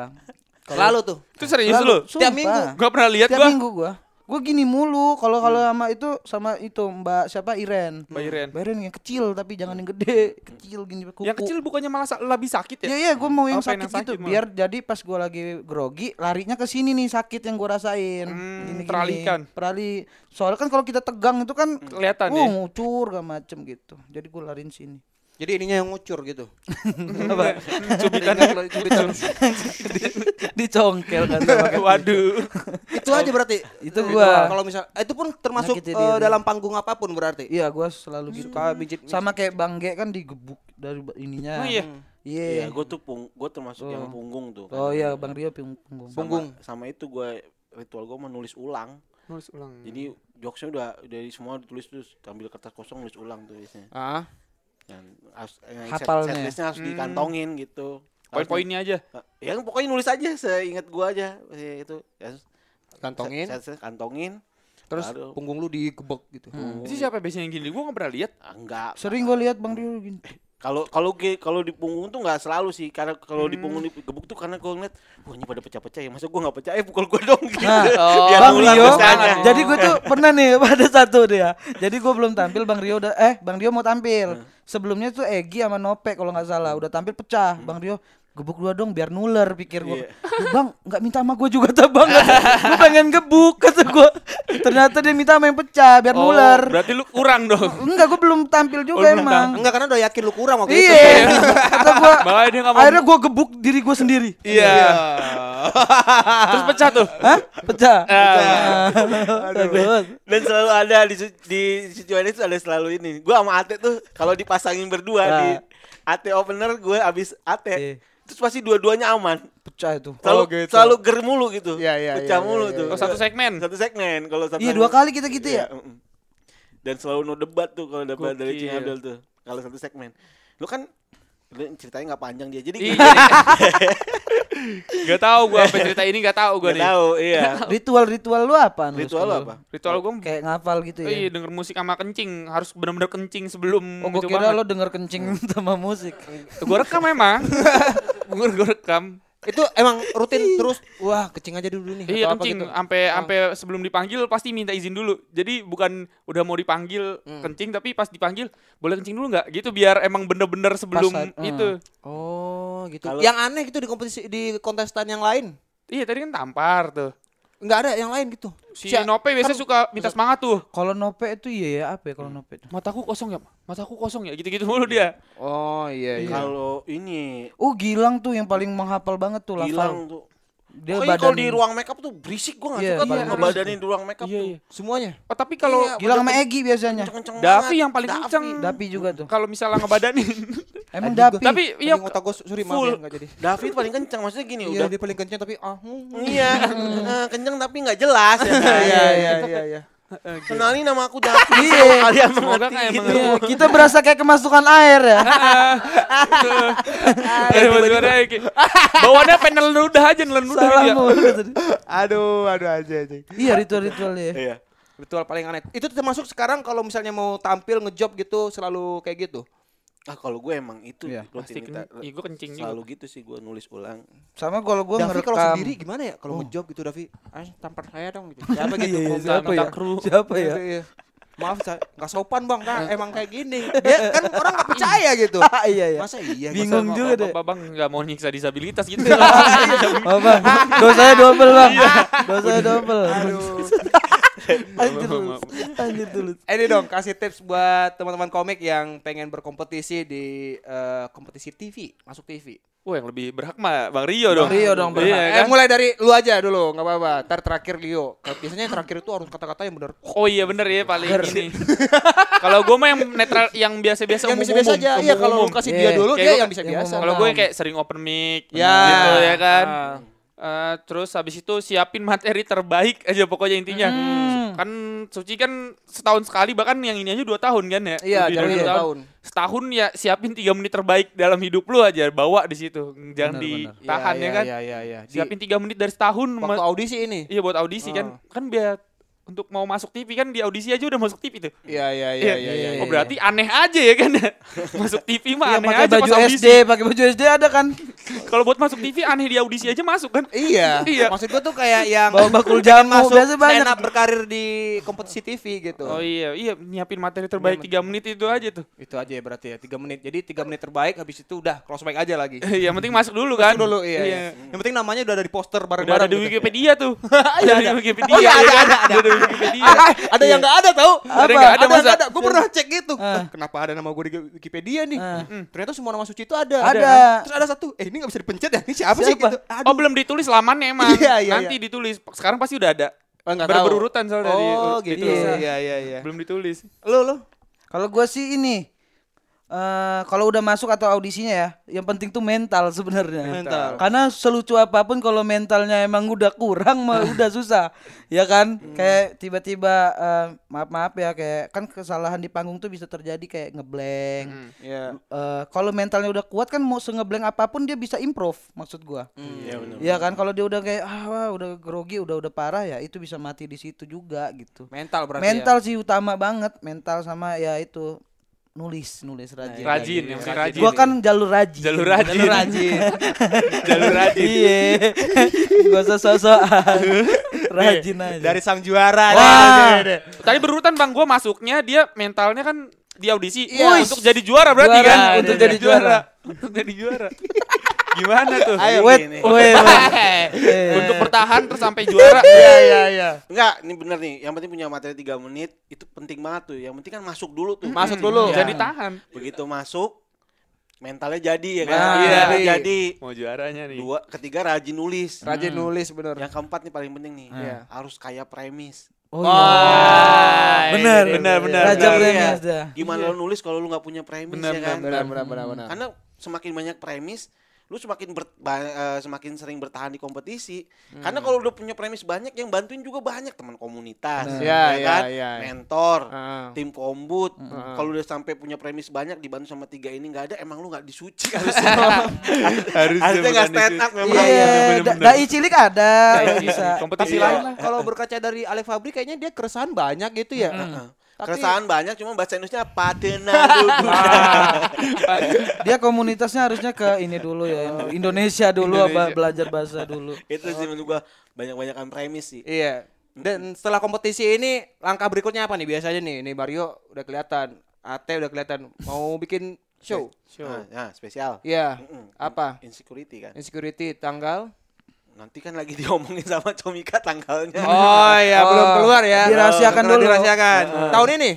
Speaker 1: Selalu tuh.
Speaker 3: Itu serius lu.
Speaker 1: Tiap minggu.
Speaker 3: Gak pernah lihat
Speaker 2: tiap
Speaker 3: gua.
Speaker 2: minggu gua gua gini mulu kalau kalau
Speaker 1: Hmm.
Speaker 2: sama itu sama itu mbak siapa Iren
Speaker 3: Mbak Iren.
Speaker 2: Mbak Iren yang kecil tapi jangan yang gede kecil gini kuku
Speaker 3: Yang kecil bukannya malah sa- lebih sakit ya?
Speaker 2: ya ya gua mau yang
Speaker 3: Oh,
Speaker 2: sakit
Speaker 3: pengen yang sakit
Speaker 2: gitu
Speaker 3: malah.
Speaker 2: biar jadi pas gua lagi grogi larinya ke sini nih sakit yang gua rasain
Speaker 3: Hmm,
Speaker 2: Gini-gini.
Speaker 3: teralihkan.
Speaker 2: teralih soalnya kan kalau kita tegang itu kan
Speaker 3: Kelihatan
Speaker 2: uh,
Speaker 3: ya.
Speaker 2: ngucur gak macem gitu jadi gua larin sini
Speaker 1: Jadi ininya yang ngucur gitu.
Speaker 3: Cubitannya.
Speaker 2: dicongkel kan Nah.
Speaker 3: Waduh.
Speaker 1: itu aja berarti.
Speaker 2: Itu gua.
Speaker 1: Kalau misal eh, itu pun termasuk
Speaker 2: Nyakitin
Speaker 1: eh,
Speaker 2: diri.
Speaker 1: dalam panggung apapun berarti.
Speaker 2: iya gua selalu gitu
Speaker 3: Hmm.
Speaker 1: Suka bijit-
Speaker 2: sama kayak Bang Ge kan digebuk dari ba- ininya
Speaker 3: Oh iya.
Speaker 2: Iya.
Speaker 4: Iya, gue tuh pung, gue termasuk yang punggung tuh. kan.
Speaker 2: Oh iya Bang Rio punggung. punggung.
Speaker 4: Sama-
Speaker 1: Punggung.
Speaker 4: Sama, itu gue ritual gue menulis ulang.
Speaker 3: Nulis ulang.
Speaker 4: Jadi jokesnya udah dari semua ditulis terus ambil kertas kosong nulis ulang tuh biasanya.
Speaker 1: Ah.
Speaker 4: Dan harus, eh, set-
Speaker 2: Hafalnya.
Speaker 4: setlistnya harus dikantongin gitu. Harus di-
Speaker 3: Poin-poinnya aja.
Speaker 4: Ya pokoknya nulis aja seingat gua aja eh, itu. Ya, terus
Speaker 1: Kantongin.
Speaker 4: set- set- set, kantongin.
Speaker 1: Terus
Speaker 4: Baru-
Speaker 1: punggung lu digebek gitu.
Speaker 2: Oh.
Speaker 3: Itu siapa biasanya yang gini? Gua gak pernah lihat.
Speaker 4: Ah, enggak.
Speaker 2: Hmm. Sering gue lihat Bang Rio gini.
Speaker 4: Kalau kalau ge- kalau di punggung tuh nggak selalu sih karena kalau
Speaker 2: Hmm.
Speaker 4: di punggung di gebuk tuh karena gua ngeliat wah ini pada pecah-pecah ya masa gua nggak pecah eh pukul gua dong gitu. Biar
Speaker 2: Bang
Speaker 4: ngulang
Speaker 2: Rio.
Speaker 4: pecahnya.
Speaker 2: Jadi gue tuh pernah nih pada satu dia. Jadi gue belum tampil Bang Rio udah eh Bang Rio mau
Speaker 3: Hmm.
Speaker 2: tampil. Sebelumnya tuh Egi sama Nope kalau nggak salah udah tampil pecah.
Speaker 3: Hmm.
Speaker 2: Bang Rio gebuk dua dong biar nular pikir gue.
Speaker 3: Iya.
Speaker 2: Bang nggak minta sama gue juga tuh bang. gue pengen gebuk kata gue. Ternyata dia minta sama yang pecah biar
Speaker 3: Oh,
Speaker 2: nular.
Speaker 3: Berarti lu kurang dong.
Speaker 2: Enggak gue belum tampil juga
Speaker 3: belum
Speaker 2: emang.
Speaker 1: Enggak karena udah yakin lu kurang waktu itu.
Speaker 2: Iya. Kata gua,
Speaker 3: Makanya ya. dia nggak mau-
Speaker 2: akhirnya gue gebuk diri gue sendiri.
Speaker 3: Iya. Terus pecah tuh.
Speaker 2: Hah? Pecah.
Speaker 3: Ah.
Speaker 2: Bagus.
Speaker 4: Dan selalu ada di su- di situasi itu ada selalu ini. Gua sama Ate tuh kalau dipasangin berdua
Speaker 2: Nah.
Speaker 4: di Ate opener gue abis Ate.
Speaker 3: Eh,
Speaker 2: Iya.
Speaker 4: Terus pasti dua-duanya aman.
Speaker 2: Pecah itu.
Speaker 4: Selalu
Speaker 1: Oh, gitu.
Speaker 4: selalu ger mulu gitu.
Speaker 1: Iya, iya,
Speaker 4: Pecah
Speaker 1: iya,
Speaker 4: mulu
Speaker 1: iya,
Speaker 4: tuh.
Speaker 3: Oh, satu segmen.
Speaker 4: Satu segmen kalau satu.
Speaker 2: Iya dua kali kita gitu ya.
Speaker 4: mm-mm. Dan selalu no debat tuh kalau debat dari Cing
Speaker 3: Gokil.
Speaker 4: Abdul tuh. Kalau satu segmen. Lu kan lu ceritanya nggak panjang dia. Jadi
Speaker 3: Iya. gak tau gua apa cerita ini gak tau gua
Speaker 4: gak
Speaker 3: nih.
Speaker 4: tahu, iya.
Speaker 2: Ritual-ritual lu apa?
Speaker 4: Ritual lu apa?
Speaker 3: Ritual gua
Speaker 2: Kayak ngafal gitu ya.
Speaker 3: iya denger musik sama kencing harus benar-benar kencing sebelum
Speaker 2: Oh, gue
Speaker 3: itu
Speaker 2: kira
Speaker 3: banget. Iya.
Speaker 2: lo denger kencing sama musik.
Speaker 3: Gua rekam memang. gua, gua rekam.
Speaker 1: Itu emang rutin terus. Wah, kecing aja dulu nih.
Speaker 3: Iya
Speaker 1: atau apa
Speaker 3: kencing
Speaker 1: gitu.
Speaker 3: sampai sampai sebelum dipanggil pasti minta izin dulu. Jadi bukan udah mau dipanggil kencing tapi pas dipanggil boleh kencing dulu nggak? Gitu biar emang bener-bener sebelum
Speaker 2: Pas saat- hmm.
Speaker 3: itu.
Speaker 1: Oh, gitu.
Speaker 4: Kalau-
Speaker 1: Yang aneh gitu di kompetisi di kontestan yang lain.
Speaker 3: Iya tadi kan tampar tuh.
Speaker 1: Enggak ada yang lain gitu.
Speaker 3: Si,
Speaker 1: Si-
Speaker 3: Nope biasanya suka minta semangat tuh.
Speaker 2: Kalau nope itu iya ya apa ya kalau nope itu?
Speaker 3: Mataku kosong ya, mataku kosong ya, gitu-gitu mulu dia.
Speaker 1: Oh, iya iya.
Speaker 4: Kalau ini
Speaker 2: Oh Gilang tuh yang paling menghafal banget tuh lafal.
Speaker 4: hilang tuh.
Speaker 2: Dia
Speaker 4: Pokoknya Oh, iya, kalau di
Speaker 2: badan-
Speaker 4: ruang makeup tuh berisik
Speaker 2: Iya,
Speaker 4: gua nggak suka tuh
Speaker 2: paling
Speaker 4: ngebadanin di ruang makeup
Speaker 3: Iya,
Speaker 4: tuh.
Speaker 3: iya.
Speaker 1: Semuanya.
Speaker 3: Oh, tapi kalau
Speaker 4: Iya,
Speaker 2: Gilang sama Egi biasanya.
Speaker 4: Kenceng-kenceng
Speaker 3: Davi
Speaker 4: banget.
Speaker 3: yang paling
Speaker 4: Davi.
Speaker 3: kenceng.
Speaker 2: Dapi juga tuh.
Speaker 3: Kalau misalnya ngebadanin.
Speaker 2: Emang
Speaker 1: Ada
Speaker 2: Dapi.
Speaker 1: juga.
Speaker 3: tapi iya
Speaker 1: Anjing otak gua sorry maaf
Speaker 3: full.
Speaker 1: ya enggak jadi.
Speaker 4: Davi tuh paling kenceng maksudnya gini
Speaker 1: Iya,
Speaker 4: udah
Speaker 1: dia paling kenceng tapi ah. hmm.
Speaker 4: Iya, eh, kenceng tapi nggak jelas ya. kan?
Speaker 1: Iya iya iya iya.
Speaker 4: Kenalin nama aku Davi.
Speaker 2: Iya.
Speaker 4: Iya. Kalian
Speaker 3: Semoga
Speaker 4: mengerti
Speaker 3: kayak
Speaker 4: gitu.
Speaker 3: mengerti.
Speaker 2: Iya, kita berasa kayak kemasukan air ya.
Speaker 3: Aduh, aduh, aduh, kayak- Bawaannya penel ludah aja, nelen ludah gitu ya.
Speaker 2: Salah mulu tadi.
Speaker 1: Aduh, aduh aja aja.
Speaker 2: Iya ritual-ritual ya.
Speaker 4: Iya.
Speaker 1: Ritual paling aneh. Itu termasuk sekarang kalau misalnya mau tampil ngejob gitu selalu kayak gitu.
Speaker 4: Ah kalau gue emang itu
Speaker 2: Iya.
Speaker 3: Pasti
Speaker 4: rutinitas.
Speaker 3: kencing. Iya, gue kencing juga.
Speaker 4: Selalu gitu sih gue nulis ulang.
Speaker 2: Sama kalau gue
Speaker 1: Davi
Speaker 2: ngerekam.
Speaker 1: kalau sendiri gimana ya kalau ngejob gitu Davi? Ah, tampar saya dong gitu. Siapa gitu?
Speaker 2: Iya, iya,
Speaker 1: Gua
Speaker 2: siapa
Speaker 1: minta
Speaker 2: ya?
Speaker 1: kru.
Speaker 2: Siapa ya?
Speaker 1: Gitu, iya. Eh. Maaf saya nggak sopan bang, Kak. emang kayak gini. Ya kan orang nggak percaya gitu.
Speaker 2: Ah, iya ya.
Speaker 1: Masa iya?
Speaker 2: Bingung.
Speaker 3: Masa
Speaker 2: juga
Speaker 3: Bapak-
Speaker 2: deh.
Speaker 3: Bapak bang nggak mau nyiksa disabilitas gitu.
Speaker 2: Oh, bang, dosanya double bang. Dosanya double. Anjir tulus. Anjir tulus.
Speaker 1: Eh, Ini dong kasih tips buat teman-teman komik yang pengen berkompetisi di eh, kompetisi TV, masuk TV.
Speaker 3: Wah yang lebih berhak mah Bang Rio dong.
Speaker 2: Rio dong berhak.
Speaker 3: Iya,
Speaker 1: Eh,
Speaker 3: kan?
Speaker 1: mulai dari lu aja dulu, nggak apa-apa. Ntar terakhir Leo. Kalau Biasanya yang terakhir itu harus kata-kata yang benar.
Speaker 3: Oh iya bener ya paling ini. Kalau gue mah yang netral yang biasa-biasa
Speaker 1: Yang
Speaker 3: umum-umum,
Speaker 1: bisa-biasa aja. Iya, kalau lu
Speaker 3: umum-umum.
Speaker 1: kasih
Speaker 2: Iya.
Speaker 1: dia dulu,
Speaker 3: Kayak
Speaker 1: dia
Speaker 3: gua-
Speaker 1: yang bisa-biasa.
Speaker 3: Kalau gue kayak sering open mic
Speaker 1: Ya.
Speaker 3: gitu ya kan. Eh, terus habis itu siapin materi terbaik aja pokoknya intinya.
Speaker 1: Hmm.
Speaker 3: Kan Suci kan setahun sekali bahkan yang ini aja dua tahun kan ya.
Speaker 1: Iya, jalannya
Speaker 3: Lebih dari
Speaker 1: dua
Speaker 3: dua
Speaker 1: tahun.
Speaker 3: Setahun ya siapin tiga menit terbaik dalam hidup lu aja bawa di situ. Jangan ditahan ya, kan.
Speaker 1: Iya, iya, iya. Di-
Speaker 3: Siapin tiga menit dari setahun. ma-
Speaker 1: Waktu audisi Ah. ini.
Speaker 3: Iya buat audisi kan. Kan biar untuk mau masuk TV kan di audisi aja udah masuk TV tuh.
Speaker 1: Iya, iya, iya, iya, iya.
Speaker 3: Oh berarti aneh aja ya kan. masuk TV mah
Speaker 2: Yang
Speaker 3: aneh
Speaker 2: pakai
Speaker 3: aja
Speaker 2: baju SD,
Speaker 3: pas audisi.
Speaker 2: pakai baju SD ada kan?
Speaker 3: Kalau buat masuk TV aneh di audisi aja masuk kan.
Speaker 1: Iya,
Speaker 3: Iya.
Speaker 1: maksud gue tuh kayak yang
Speaker 2: Bawa bakul jamu,
Speaker 1: masuk
Speaker 2: biasa banyak.
Speaker 1: stand up berkarir di kompetisi TV gitu.
Speaker 3: Oh iya, iya nyiapin materi
Speaker 1: Iya,
Speaker 3: terbaik tiga menit itu aja tuh.
Speaker 1: Itu aja ya berarti ya, 3 menit. Jadi 3 menit terbaik habis itu udah cross mic aja lagi.
Speaker 3: Yang penting masuk dulu kan.
Speaker 1: Dulu iya, iya. Yang penting namanya udah ada di poster
Speaker 3: Udah
Speaker 1: bareng-bareng.
Speaker 3: ada di
Speaker 1: gitu.
Speaker 3: Wikipedia tuh. Udah ada di Wikipedia.
Speaker 1: Oh iya, ada, ada,
Speaker 3: kan?
Speaker 1: ada.
Speaker 3: Udah di Wikipedia.
Speaker 1: Ah, ada yang nggak ada tau
Speaker 3: Ada yang nggak ada,
Speaker 1: ada, yang
Speaker 3: masa?
Speaker 1: nggak ada. gue pernah cek gitu Eh, kenapa ada nama gue di Wikipedia nih Mm, ternyata semua nama suci itu ada
Speaker 2: Ada.
Speaker 1: terus ada satu eh ini nggak bisa dipencet ya ini siapa, sih
Speaker 2: Siapa?
Speaker 1: gitu
Speaker 3: Oh belum ditulis lamannya emang.
Speaker 1: Iya, iya,
Speaker 3: Nanti ditulis. Sekarang pasti udah ada.
Speaker 1: Oh, nggak
Speaker 3: Ber-
Speaker 1: tahu.
Speaker 3: berurutan soalnya di-
Speaker 1: oh
Speaker 3: di-
Speaker 1: gitu
Speaker 3: ditulis.
Speaker 1: iya iya iya
Speaker 3: Belum ditulis.
Speaker 1: lo lo
Speaker 2: Kalau gua sih ini eh kalau udah masuk atau audisinya ya, yang penting tuh mental sebenarnya.
Speaker 1: Mental.
Speaker 2: Karena selucu apapun kalau mentalnya emang udah kurang mah udah susah. Ya kan? Kayak tiba-tiba eh, maaf-maaf ya kayak kan kesalahan di panggung tuh bisa terjadi kayak ngeblank.
Speaker 1: ya
Speaker 2: Eh, kalau mentalnya udah kuat kan mau sengeblank apapun dia bisa improve maksud gua. Iya kan kalau dia udah kayak ah wah, udah grogi udah udah parah ya itu bisa mati di situ juga gitu.
Speaker 1: mental berarti ya.
Speaker 2: mental sih utama banget, mental sama ya itu nulis nulis
Speaker 1: iya,
Speaker 2: rajin.
Speaker 3: Rajin, yang penting rajin. ya?
Speaker 2: Gua kan jalur rajin.
Speaker 3: jalur rajin.
Speaker 1: ya. rajin
Speaker 3: Jalur rajin.
Speaker 2: Iya. Gak usah sosokan. Rajin aja.
Speaker 1: dari sang juara
Speaker 2: Wah.
Speaker 1: nih, nih, nih.
Speaker 3: Tadi berurutan Bang, gua masuknya dia mentalnya kan di audisi
Speaker 2: Iya.
Speaker 3: untuk jadi juara berarti
Speaker 2: Juara,
Speaker 3: kan?
Speaker 2: untuk jadi juara.
Speaker 3: Untuk jadi juara. Gimana tuh?
Speaker 1: Ayo,
Speaker 2: Wait,
Speaker 1: gini.
Speaker 2: wait, wait.
Speaker 3: untuk bertahan terus sampai juara.
Speaker 1: iya iya iya
Speaker 4: Enggak, ini bener nih. Yang penting punya materi 3 menit itu penting banget tuh. Yang penting kan masuk dulu tuh.
Speaker 1: masuk dulu
Speaker 3: Jadi tahan.
Speaker 4: Begitu masuk mentalnya jadi ya kan.
Speaker 1: Nah,
Speaker 4: Iya,
Speaker 1: iya.
Speaker 4: jadi.
Speaker 3: Mau juaranya nih.
Speaker 4: Dua, ketiga rajin nulis.
Speaker 1: rajin nulis bener
Speaker 4: Yang keempat nih paling penting nih.
Speaker 1: Iya.
Speaker 4: Harus kaya premis.
Speaker 2: Oh,
Speaker 1: Wah,
Speaker 2: iya. bener,
Speaker 3: ini, bener, bener,
Speaker 2: Raja
Speaker 3: bener.
Speaker 2: Premis ya, dah.
Speaker 4: Gimana lo nulis kalau lu nggak punya premis
Speaker 3: Benar,
Speaker 4: ya kan?
Speaker 1: benar benar benar Iya, benar
Speaker 4: Karena semakin banyak premis, lu semakin ber- ba- eh, semakin sering bertahan di kompetisi.
Speaker 1: Hmm.
Speaker 4: Karena kalau udah punya premis banyak, yang bantuin juga banyak teman komunitas,
Speaker 1: Benar. Iya, iya,
Speaker 4: kan?
Speaker 1: iya. Ah. Hmm.
Speaker 4: Mentor,
Speaker 1: Heeh.
Speaker 4: tim kombut. Kalau udah sampai punya premis banyak dibantu sama tiga ini nggak ada, emang lu nggak disuci harusnya.
Speaker 3: Harus
Speaker 4: harusnya nggak stand up memang.
Speaker 2: Iya, da-
Speaker 3: bener-bener.
Speaker 2: dai cilik ada, bisa.
Speaker 3: Kompetisi
Speaker 1: Tapi
Speaker 3: lain
Speaker 1: lain lah kalau berkaca dari Alek Fabri kayaknya dia keresahan banyak gitu ya. Tapi-
Speaker 4: Nah, Keresahan banyak, cuma bahasa Indonesia padena dulu.
Speaker 1: Ah.
Speaker 2: Dia komunitasnya harusnya ke ini dulu ya, Indonesia dulu apa belajar bahasa dulu.
Speaker 4: Itu sih menurut gua banyak-banyakan premis sih.
Speaker 1: Iya. Dan setelah kompetisi ini langkah berikutnya apa nih biasanya nih? Nih Mario udah kelihatan, Ate udah kelihatan mau bikin show.
Speaker 4: Nah, nah, spesial.
Speaker 1: Iya.
Speaker 4: Mm-mm.
Speaker 1: Apa?
Speaker 4: Insecurity kan.
Speaker 1: Insecurity tanggal?
Speaker 4: Nanti kan lagi diomongin sama Comika tanggalnya.
Speaker 1: Oh iya, belum keluar ya. Belum,
Speaker 2: Dirahasiakan dulu. Ah.
Speaker 1: Dirahasiakan. Tahun ini?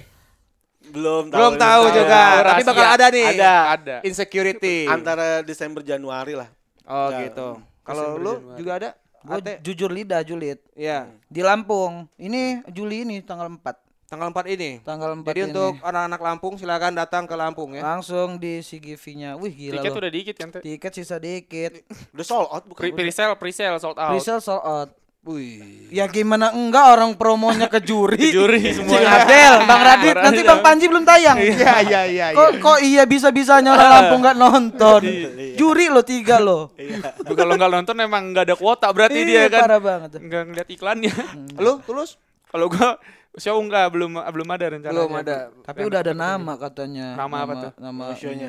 Speaker 4: Belum tahu.
Speaker 1: Belum tahu juga.
Speaker 3: tahu.
Speaker 1: Tapi bakal
Speaker 3: Rahasia.
Speaker 1: ada nih.
Speaker 3: Ada,
Speaker 1: Iya.
Speaker 3: ada.
Speaker 1: Insecurity.
Speaker 4: antara Desember Januari lah.
Speaker 1: Oh
Speaker 4: Nah,
Speaker 1: gitu. Kalau
Speaker 3: Desember,
Speaker 1: lu
Speaker 3: Januari.
Speaker 1: juga ada?
Speaker 2: Gue
Speaker 1: Ate?
Speaker 2: jujur lidah julid
Speaker 1: Iya.
Speaker 2: di Lampung. Ini Juli ini tanggal 4
Speaker 1: Tanggal 4 ini.
Speaker 2: Tanggal 4
Speaker 1: Jadi
Speaker 2: ini. Ah.
Speaker 1: untuk anak-anak Lampung silakan datang ke Lampung ya.
Speaker 2: langsung di CGV-nya. Wih gila
Speaker 3: Tiket
Speaker 2: loh.
Speaker 3: udah dikit kan. Teh?
Speaker 2: Tiket sisa dikit.
Speaker 4: Udah sold out bukan?
Speaker 3: Pre- Pre-sale, pre-sale sold out.
Speaker 2: Resell sold out.
Speaker 1: Wih.
Speaker 2: Ya gimana enggak orang promonya ke juri.
Speaker 3: Juri semua.
Speaker 2: Cing Abdel, Bang Radit, nanti Bang Panji belum tayang.
Speaker 1: Iya iya iya.
Speaker 2: Kok kok iya bisa-bisanya orang Lampung nggak nonton.
Speaker 3: Iya,
Speaker 2: Juri lo tiga lo.
Speaker 3: Duh, Kalau nggak nonton emang nggak ada kuota berarti Iya, dia
Speaker 2: Iya,
Speaker 3: kan.
Speaker 2: parah banget.
Speaker 3: Nggak ngeliat iklannya.
Speaker 1: Lu tulus?
Speaker 3: Kalau gua show nggak belum belum ada rencananya.
Speaker 1: Belum ada.
Speaker 2: Tapi udah ada nama katanya.
Speaker 3: Nama apa tuh?
Speaker 2: Nama ini.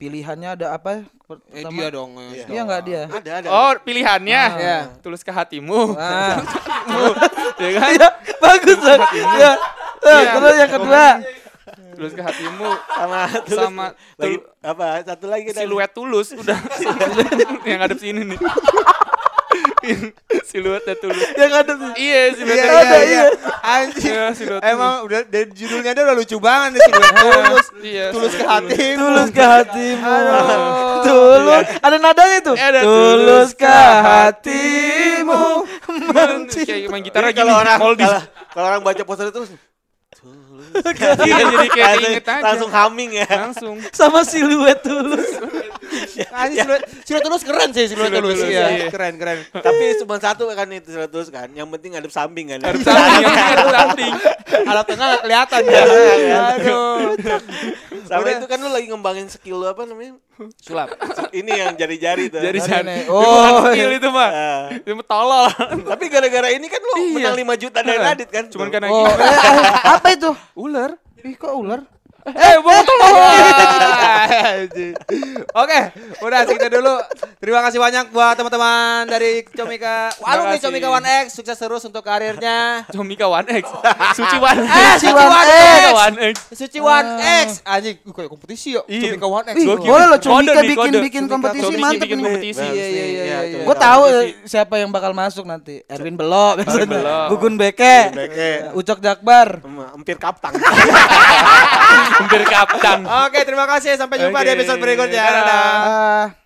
Speaker 2: Pilihannya ada apa? Per-
Speaker 1: Eh
Speaker 2: pertama-
Speaker 1: dia dong.
Speaker 2: Iya nggak dia?
Speaker 4: Ada ada.
Speaker 3: Oh, pilihannya.
Speaker 1: Iya.
Speaker 3: Tulis ke hatimu.
Speaker 2: Ah.
Speaker 3: ya kan?
Speaker 2: Iya, bagus loh. Ya. Eh, Terus yang kedua.
Speaker 3: Tulis ke hatimu
Speaker 4: sama terus
Speaker 3: sama
Speaker 4: lagi,
Speaker 3: tul-
Speaker 4: apa? Satu lagi tadi.
Speaker 3: siluet tulus udah. yang ngadep sini nih. siluetnya tulus.
Speaker 2: Yang ada sih.
Speaker 3: Iya,
Speaker 1: Iya
Speaker 3: siluetnya.
Speaker 1: iya iya.
Speaker 2: iya.
Speaker 1: Anjing.
Speaker 3: Iya, siluet
Speaker 1: Emang udah dari judulnya dia udah lucu banget nih si Dua tulus.
Speaker 3: Iya,
Speaker 1: Tulus
Speaker 3: siluet
Speaker 1: ke hati.
Speaker 2: Tulus ke hatimu. tulus. Ada nadanya tuh.
Speaker 3: Ada
Speaker 2: Tuluskah
Speaker 3: tuluskah
Speaker 2: hatimu
Speaker 3: Iya, Kayak main gitar
Speaker 4: Ini
Speaker 3: lagi
Speaker 4: Iya, kalau orang
Speaker 3: Moldi.
Speaker 4: kalau, kalau orang baca poster terus
Speaker 3: Iya, jadi kayak
Speaker 4: langsung-
Speaker 3: keinget aja.
Speaker 4: langsung humming ya.
Speaker 3: Langsung.
Speaker 2: sama siluet tulus.
Speaker 1: Anjing Nah, siluet, siluet tulus keren sih siluet tulus. Iya, keren keren.
Speaker 4: Tapi cuma satu kan itu terus kan. Yang penting ngadep samping kan.
Speaker 3: Harus samping, harus samping.
Speaker 2: Iya.
Speaker 1: Alat tengah nggak kelihatan ya. Aduh.
Speaker 4: Sama
Speaker 1: Udah.
Speaker 4: itu kan lu lagi ngembangin skill lu apa namanya?
Speaker 1: Sulap.
Speaker 4: Ini yang jari-jari tuh.
Speaker 3: Dari sana.
Speaker 2: nih.
Speaker 3: Oh, bukan
Speaker 2: Oh,
Speaker 3: skill itu mah.
Speaker 4: Ah.
Speaker 3: Itu mah tolol.
Speaker 4: Tapi gara-gara ini kan lu menang 5 juta dari Iya, Radit kan.
Speaker 3: Iya. Cuman
Speaker 4: Tuh.
Speaker 3: karena
Speaker 2: Oh, eh, eh, apa itu?
Speaker 3: ular.
Speaker 2: Ih, kok ular?
Speaker 1: Eh, bawa tolong. Oke, udah segitu dulu. Terima kasih banyak buat teman-teman dari Comika. Walu nih
Speaker 3: kasih.
Speaker 1: Comika One X, sukses terus untuk karirnya.
Speaker 3: Comika One X. Suci One X.
Speaker 1: Eh, Suci One X.
Speaker 3: Comika One X.
Speaker 1: Suci One X. Anjing, uh, kayak kompetisi yuk.
Speaker 3: Ah. Iya.
Speaker 1: Comika One X.
Speaker 2: Ih,
Speaker 3: Gokil.
Speaker 2: boleh loh
Speaker 3: Kode
Speaker 2: Comika
Speaker 3: nih,
Speaker 2: bikin
Speaker 3: kode.
Speaker 2: bikin
Speaker 1: Comika-
Speaker 2: kompetisi
Speaker 1: Comika
Speaker 2: mantep
Speaker 3: bikin
Speaker 2: nih.
Speaker 3: kompetisi.
Speaker 1: Iya, iya,
Speaker 4: Ya,
Speaker 1: iya, iya, iya.
Speaker 2: Gue tahu eh, siapa yang bakal masuk nanti. Erwin Belok, biasanya.
Speaker 3: Belok.
Speaker 2: Gugun Beke, Ucok Jakbar.
Speaker 4: Hampir kaptang.
Speaker 3: Hampir kaptang.
Speaker 1: Oke, terima kasih. Sampai jumpa di
Speaker 3: Oke.
Speaker 1: episode berikutnya.
Speaker 3: Dadah.
Speaker 1: Dadah.
Speaker 2: Ah.